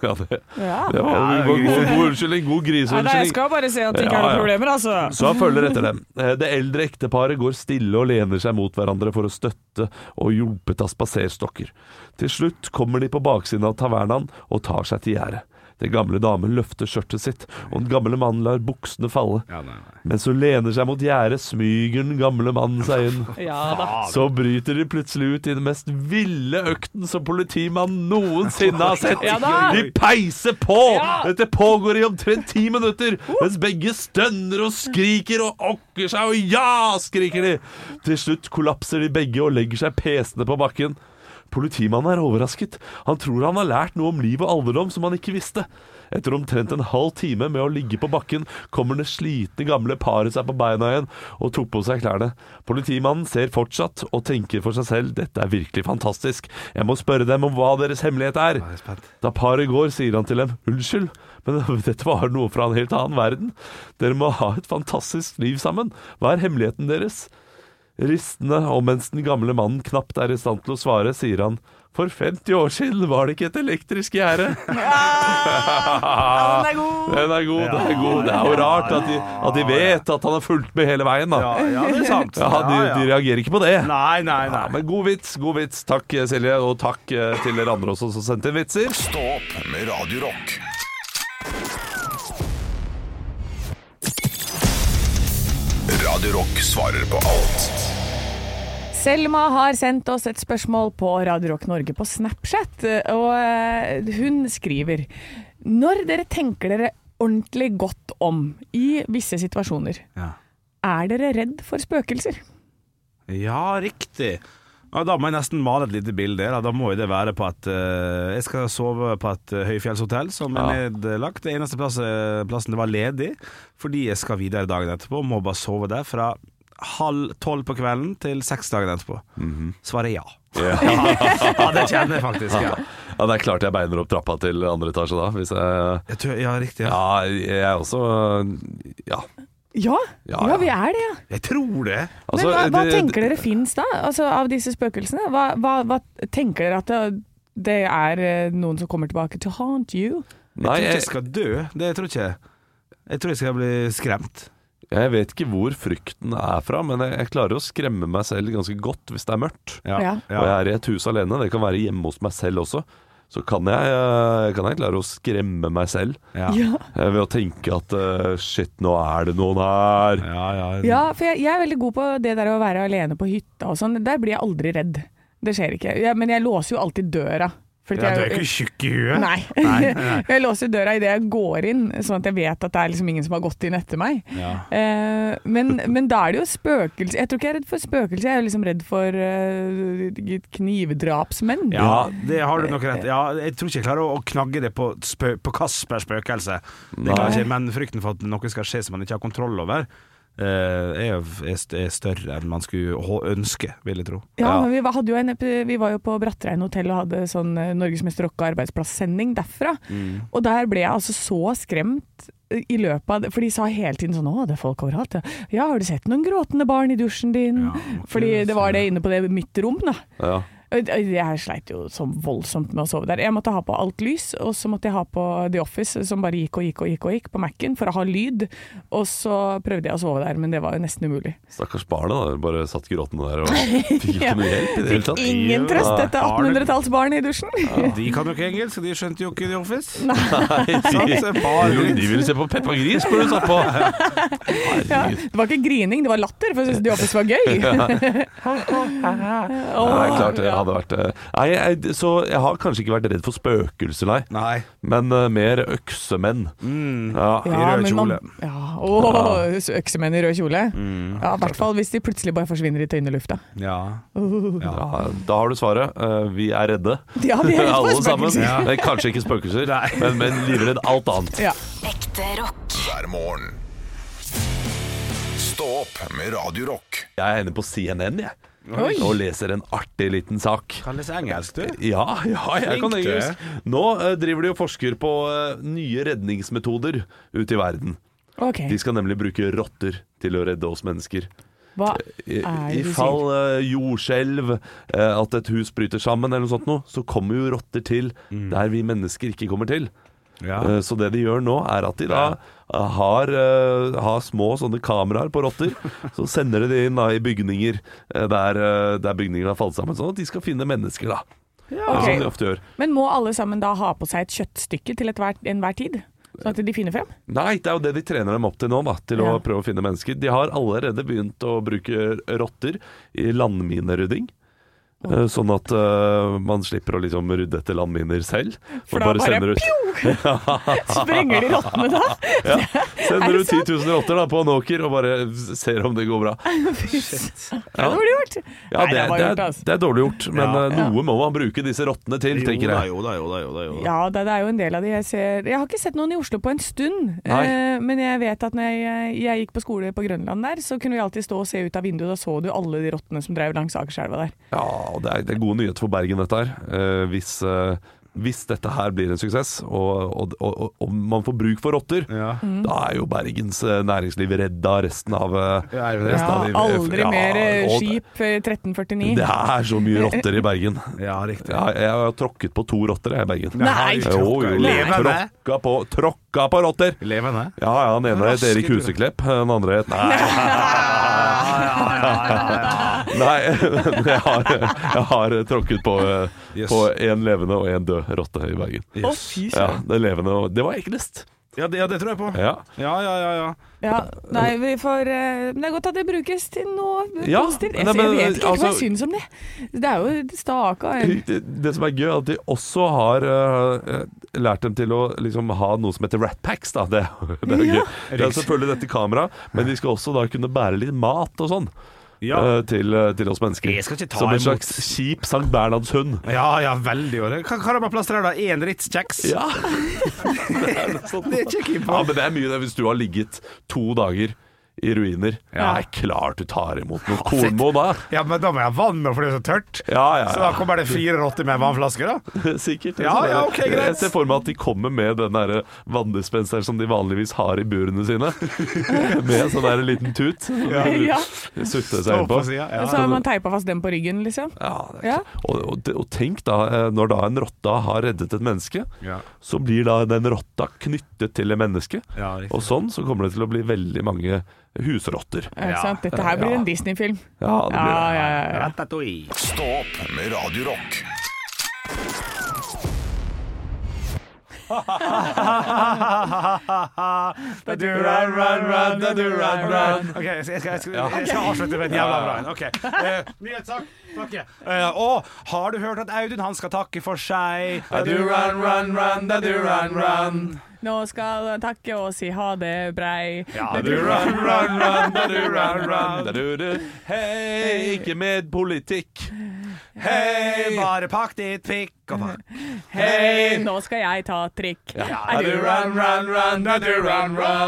[SPEAKER 2] ja, det,
[SPEAKER 3] Ja.
[SPEAKER 2] det var en god, god, god unnskyldning. God
[SPEAKER 3] Nei, nei, jeg
[SPEAKER 2] griseunnskyldning.
[SPEAKER 3] skal bare si at det ikke
[SPEAKER 2] Ja,
[SPEAKER 3] er noen
[SPEAKER 2] ja.
[SPEAKER 3] problemer, altså.
[SPEAKER 2] Så han følger etter dem. Eh, Det eldre ekteparet går stille og lener seg mot hverandre for å støtte og hjulpet av spaserstokker. Til slutt kommer de på baksiden av tavernaen og tar seg til gjerdet. Den gamle damen løfter skjørtet sitt, og den gamle mannen lar buksene falle.
[SPEAKER 1] Ja, nei, nei.
[SPEAKER 2] Mens hun lener seg mot gjerdet, smyger den gamle mannen seg inn.
[SPEAKER 3] Ja da.
[SPEAKER 2] Så bryter de plutselig ut i den mest ville økten som politimannen noensinne har sett.
[SPEAKER 3] Ja da!
[SPEAKER 2] De peiser på! Dette pågår i omtrent ti minutter, mens begge stønner og skriker og okker seg, og ja, skriker de. Til slutt kollapser de begge og legger seg pesende på bakken. Politimannen er overrasket. Han tror han har lært noe om liv og alderdom som han ikke visste. Etter omtrent en halv time med å ligge på bakken, kommer det slitne gamle paret seg på beina igjen og tok på seg klærne. Politimannen ser fortsatt og tenker for seg selv dette er virkelig fantastisk. Jeg må spørre dem om hva deres hemmelighet er.
[SPEAKER 1] Jeg er spent.
[SPEAKER 2] Da paret går, sier han til dem unnskyld, men dette var noe fra en helt annen verden. Dere må ha et fantastisk liv sammen. Hva er hemmeligheten deres? Ristende, og mens den gamle mannen knapt er i stand til å svare, sier han for 50 år siden var det ikke et elektrisk gjerde. den er god! Den er god, den er god. Det er jo rart at de, at de vet at han har fulgt med hele veien, da.
[SPEAKER 1] Ja, ja, det er sant.
[SPEAKER 2] Ja, de, de reagerer ikke på det.
[SPEAKER 1] Nei, nei,
[SPEAKER 2] Ja,
[SPEAKER 1] nei.
[SPEAKER 2] men god vits, god vits. Takk eh, Silje, og takk eh, til dere andre også som sendte inn vitser.
[SPEAKER 4] Stå opp med Radio Rock. Radio Rock svarer på alt.
[SPEAKER 3] Selma har sendt oss et spørsmål på Radio Rock Norge på Snapchat, og eh, hun skriver Når dere tenker dere ordentlig godt om i visse situasjoner,
[SPEAKER 1] Ja.
[SPEAKER 3] er dere redd for spøkelser?
[SPEAKER 1] Ja, riktig. Ja, da må jeg nesten male et lite bilde. her, Da. da må jo det være på at eh, jeg skal sove på et eh, høyfjellshotell som er
[SPEAKER 2] Ja.
[SPEAKER 1] nedlagt. Det eneste plass, eh, plassen det var ledig, fordi jeg skal videre dagen etterpå. Må bare sove der fra halv tolv på kvelden til seks dagen etterpå. Svaret er ja. ja, det kjenner jeg faktisk. Ja,
[SPEAKER 2] Ja, det er klart jeg beiner opp trappa til andre etasje da, hvis jeg
[SPEAKER 1] jeg tror, ja riktig. Ja.
[SPEAKER 2] Ja, jeg er også Ja.
[SPEAKER 3] Ja,
[SPEAKER 2] Ja,
[SPEAKER 3] ja,
[SPEAKER 2] ja.
[SPEAKER 3] vi er det, ja.
[SPEAKER 1] Jeg tror det.
[SPEAKER 3] Men
[SPEAKER 2] Altså,
[SPEAKER 3] hva, hva
[SPEAKER 2] det-
[SPEAKER 3] tenker dere fins da, altså, av disse spøkelsene? Hva, hva, hva tenker dere at det, det er eh, noen som kommer tilbake to haunt you?
[SPEAKER 1] Jeg
[SPEAKER 2] Nei,
[SPEAKER 1] tror ikke
[SPEAKER 2] jeg,
[SPEAKER 1] jeg skal dø. Det tror jeg ikke. Jeg tror jeg skal bli skremt.
[SPEAKER 2] jeg vet ikke hvor frykten er fra, men jeg, jeg klarer å skremme meg selv ganske godt hvis det er mørkt.
[SPEAKER 3] Ja.
[SPEAKER 2] Og jeg er i et hus alene, det kan være hjemme hos meg selv også. Så kan jeg, eh, kan jeg klare å skremme meg selv
[SPEAKER 1] Ja.
[SPEAKER 3] Ja,
[SPEAKER 2] eh, ved å tenke at eh, shit, nå er det noen her.
[SPEAKER 1] Ja, ja.
[SPEAKER 3] ja for jeg, jeg er veldig god på det der å være alene på hytta og sånn. Der blir jeg aldri redd. Det skjer ikke. Ja, men jeg låser jo alltid døra. Fordi
[SPEAKER 1] Ja, du er jo ikke tjukk i huet.
[SPEAKER 3] Nei. jeg låser døra idet jeg går inn, sånn at jeg vet at det er liksom ingen som har gått inn etter meg.
[SPEAKER 1] Ja.
[SPEAKER 3] Eh, men, men da er det jo spøkelser. Jeg tror ikke jeg er redd for spøkelser, jeg er liksom redd for eh, knivdrapsmenn.
[SPEAKER 1] Ja, det har du nok rett ja, Jeg tror ikke jeg klarer å, å knagge det på, spø på Kaspers spøkelse. Det klarer jeg ikke, men frykten for at noe skal skje som man ikke har kontroll over, eh, er, er st- er større enn man skulle hå- ønske, vil jeg tro.
[SPEAKER 3] Ja, men vi var, hadde jo en, epi- vi var jo på Brattrein hotell og hadde sånn eh, Norges mest rocka arbeidsplass-sending derfra. Og der ble jeg altså så skremt eh, i løpet av det, for de sa hele tiden sånn 'Å, det er folk overalt', ja. 'Ja, har du sett noen gråtende barn i dusjen din?'
[SPEAKER 1] Ja, må ikke
[SPEAKER 3] Fordi det var det inne på det mitt rom, da.
[SPEAKER 2] Ja.
[SPEAKER 3] Og Jeg sleit jo så voldsomt med å sove der. Jeg måtte ha på alt lys, og så måtte jeg ha på The Office, som bare gikk og gikk og gikk og gikk på Mac-en for å ha lyd. Og så prøvde jeg å sove der, men det var jo nesten umulig.
[SPEAKER 2] Stakkars barnet, da. Bare satt gråtende der og fikk ikke noe hjelp i det hele tatt.
[SPEAKER 3] Ingen trøst, dette 1800-tallsbarnet i dusjen.
[SPEAKER 1] De kan jo ikke engelsk, så de skjønte jo ikke The Office.
[SPEAKER 2] Nei,
[SPEAKER 1] Så bare
[SPEAKER 2] de,
[SPEAKER 1] dritt.
[SPEAKER 2] de ville se på Peppa Gris, burde du satt på. Herregud.
[SPEAKER 3] Det var ikke grining, det var latter, for jeg syntes The Office var gøy.
[SPEAKER 2] Ja, det er klart det
[SPEAKER 3] ja.
[SPEAKER 2] hadde vært eh, Nei, jeg, så jeg har kanskje ikke vært redd for spøkelser, nei.
[SPEAKER 1] Nei.
[SPEAKER 2] Men eh, mer øksemenn. Ja.
[SPEAKER 1] I rød
[SPEAKER 3] men man-
[SPEAKER 1] kjole.
[SPEAKER 3] Ja, Åh, så øksemenn i rød kjole.
[SPEAKER 2] Mm,
[SPEAKER 3] Ja, I hvert fall hvis de plutselig bare forsvinner i tøynelufta.
[SPEAKER 1] Ja.
[SPEAKER 2] ja, da har du svaret. Eh, vi er redde.
[SPEAKER 3] Ja, vi er redd for
[SPEAKER 2] Alle sammen.
[SPEAKER 3] spøkelser.
[SPEAKER 2] Men Kanskje ikke spøkelser,
[SPEAKER 1] Nei.
[SPEAKER 2] men, men livredd alt annet.
[SPEAKER 3] Ja.
[SPEAKER 8] Ekte rock.
[SPEAKER 4] hver morgen. Stå opp med Radio Rock.
[SPEAKER 2] Jeg er inne på CNN, jeg.
[SPEAKER 3] Oi.
[SPEAKER 2] og leser en artig liten sak.
[SPEAKER 1] Kan lese engelsk, du.
[SPEAKER 2] Ja, ja, jeg
[SPEAKER 1] Flink
[SPEAKER 2] kan
[SPEAKER 1] du er.
[SPEAKER 2] engelsk. Nå eh, driver de og forsker på eh, nye redningsmetoder ute i verden.
[SPEAKER 3] Ok,
[SPEAKER 2] De skal nemlig bruke rotter til å redde oss mennesker.
[SPEAKER 3] hva
[SPEAKER 2] I,
[SPEAKER 3] er
[SPEAKER 2] i
[SPEAKER 3] det du sier?
[SPEAKER 2] fall eh, jordskjelv, eh, at et hus bryter sammen eller noe sånt noe, så kommer jo rotter til
[SPEAKER 3] Mm.
[SPEAKER 2] der vi mennesker ikke kommer til.
[SPEAKER 1] Ja.
[SPEAKER 2] Eh, Så det de gjør nå, er at de da eh, har, eh, har små sånne kameraer på rotter. Så sender de det inn da i bygninger eh, der, eh, der bygningene har falt sammen, sånn at de skal finne mennesker, da.
[SPEAKER 3] Ok.
[SPEAKER 2] Som de ofte gjør.
[SPEAKER 3] Men må alle sammen da ha på seg et kjøttstykke til ethver- enhver tid? Sånn at de finner frem?
[SPEAKER 2] Nei, det er jo det de trener dem opp til nå, da, til
[SPEAKER 3] Ja.
[SPEAKER 2] å prøve å finne mennesker. De har allerede begynt å bruke rotter i landminerydding. eh, Sånn at eh, man slipper å liksom rydde etter landminer selv. og
[SPEAKER 3] For da bare
[SPEAKER 2] sender ut-
[SPEAKER 3] pjo! Sprenger de rottene da? Er
[SPEAKER 2] Sender
[SPEAKER 3] det
[SPEAKER 2] du 10 000 rotter da, på en åker og bare ser om det går bra.
[SPEAKER 3] Fy søren. Det var det gjort.
[SPEAKER 2] Ja, det,
[SPEAKER 3] Nei, var
[SPEAKER 2] det,
[SPEAKER 3] gjort,
[SPEAKER 2] er,
[SPEAKER 3] altså.
[SPEAKER 2] det er dårlig gjort, men
[SPEAKER 1] Ja.
[SPEAKER 2] eh, noe må man bruke disse rottene til, tenker jeg.
[SPEAKER 1] jo da, jo da, jo da. Jo da.
[SPEAKER 3] Ja, det, det er jo en del av de jeg ser. Jeg har ikke sett noen i Oslo på en stund.
[SPEAKER 2] Nei.
[SPEAKER 3] eh, men jeg vet at når jeg, jeg gikk på skole på Grønland der, så kunne vi alltid stå og se ut av vinduet. Da så du alle de rottene som drev langs Akerselva der.
[SPEAKER 2] Ja, og det er, det er gode nyheter for Bergen, dette her. Eh, hvis, eh, hvis dette her blir en suksess, og, og, og, og, og man får bruk for rotter,
[SPEAKER 1] Ja.
[SPEAKER 2] da er jo Bergens eh, næringsliv redda resten av eh,
[SPEAKER 1] Ja, er jo det.
[SPEAKER 2] resten
[SPEAKER 3] Ja,
[SPEAKER 2] av de-
[SPEAKER 3] aldri
[SPEAKER 2] Ja,
[SPEAKER 3] mer eh,
[SPEAKER 2] og-
[SPEAKER 3] skip eh, 1349.
[SPEAKER 2] Det er så mye rotter i Bergen.
[SPEAKER 1] Ja, riktig.
[SPEAKER 2] Ja, jeg har tråkket på to rotter jeg, i Bergen.
[SPEAKER 3] Nei.
[SPEAKER 2] Jo, jo, jo.
[SPEAKER 1] Levende.
[SPEAKER 2] Tråkka på, tråkka på rotter!
[SPEAKER 1] Levende?
[SPEAKER 2] Ja, ja, den ene het
[SPEAKER 1] Raske
[SPEAKER 2] Erik
[SPEAKER 1] du.
[SPEAKER 2] Huseklepp, den andre het Nei. Nei, men jeg har, jeg har tråkket på, eh,
[SPEAKER 1] Yes.
[SPEAKER 2] på en levende og en død rotte i Bergen.
[SPEAKER 3] Å, fy
[SPEAKER 2] Ja,
[SPEAKER 3] søren.
[SPEAKER 2] det levende og Det var eklest.
[SPEAKER 1] Ja, det, ja, det tror jeg på.
[SPEAKER 2] Ja.
[SPEAKER 1] Ja, ja, ja. ja.
[SPEAKER 3] Ja, nei, vi får eh, Men det er godt at det brukes til noe
[SPEAKER 2] Ja,
[SPEAKER 3] positivt. Jeg,
[SPEAKER 2] nei, men,
[SPEAKER 3] jeg vet ikke hva jeg
[SPEAKER 2] altså-
[SPEAKER 3] syns om det. Det er jo staka en
[SPEAKER 2] Det, det som er gøy, er at de også har eh, lært dem til å liksom, ha noe som heter ratpacks. Da. Det, det er jo
[SPEAKER 3] Ja.
[SPEAKER 2] gøy. Det er selvfølgelig dette kameraet, men de skal også da kunne bære litt mat og sånn.
[SPEAKER 1] Ja.
[SPEAKER 2] eh, Til, til oss mennesker.
[SPEAKER 1] Jeg skal ikke ta
[SPEAKER 2] Som en
[SPEAKER 1] imot.
[SPEAKER 2] slags kjip Sankt Bernhardshund.
[SPEAKER 1] Ja, ja, veldig ålreit. Hva hva har man plass til der, da? Én Ritz kjeks?
[SPEAKER 2] Ja. det er noe sånt.
[SPEAKER 1] Det er ikke keen på.
[SPEAKER 2] Ja, men det er mye det hvis du har ligget to dager i ruiner.
[SPEAKER 1] Ja.
[SPEAKER 2] Det er klart du tar imot noe kornmo da.
[SPEAKER 1] Ja, men da må jeg ha vann nå, for det er så tørt.
[SPEAKER 2] Ja, ja,
[SPEAKER 1] Så da
[SPEAKER 2] ja.
[SPEAKER 1] kommer det fire rotter med vannflasker, da?
[SPEAKER 2] Sikkert.
[SPEAKER 1] Ja, ja, ok, greit.
[SPEAKER 2] Jeg ser for meg at de kommer med den der vanndispenseren som de vanligvis har i burene sine. med sånn der liten tut. som de
[SPEAKER 3] Ja.
[SPEAKER 2] Sutter
[SPEAKER 1] Stå
[SPEAKER 2] seg
[SPEAKER 1] på
[SPEAKER 2] innpå.
[SPEAKER 1] sida.
[SPEAKER 3] Og
[SPEAKER 1] Ja.
[SPEAKER 3] så har man teipa fast den på ryggen, liksom.
[SPEAKER 2] Ja, det er
[SPEAKER 3] Ja.
[SPEAKER 2] klart. Og, og, og tenk da, eh, når da en rotta har reddet et menneske,
[SPEAKER 1] Ja.
[SPEAKER 2] så blir da den rotta knyttet til et menneske.
[SPEAKER 1] Ja, riktig.
[SPEAKER 2] og sånn så kommer det til å bli veldig mange husrotter.
[SPEAKER 3] Er det
[SPEAKER 1] Ja.
[SPEAKER 3] sant? Dette her blir en Disney-film.
[SPEAKER 2] Ja, det
[SPEAKER 3] Ja,
[SPEAKER 2] blir det.
[SPEAKER 3] ja, ja.
[SPEAKER 1] Ratatouille.
[SPEAKER 4] Stå opp med Radio Rock.
[SPEAKER 1] Da du run, run, run, da du run, run. Ok, jeg skal, jeg skal, jeg skal, jeg skal avslutte med en jævla bra en. Ok. Eh, Nyhetssak. Takke. Eh, og har du hørt at Audun han skal takke for seg? Da du run, run, run, da du run, run.
[SPEAKER 3] Nå skal han takke og si ha det brei.
[SPEAKER 1] Ja,
[SPEAKER 2] Da du run, run, run, da du run, run, da du du. Hei, ikke med politikk.
[SPEAKER 1] Hei, bare pakk ditt pikk og pakk.
[SPEAKER 2] Hei!
[SPEAKER 3] Nå skal jeg ta trikk.
[SPEAKER 2] Da du run, run, run, da du run, run.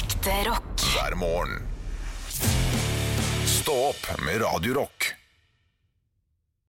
[SPEAKER 8] Ekte rock.
[SPEAKER 4] Hver morgen. Stå opp med Radio Rock.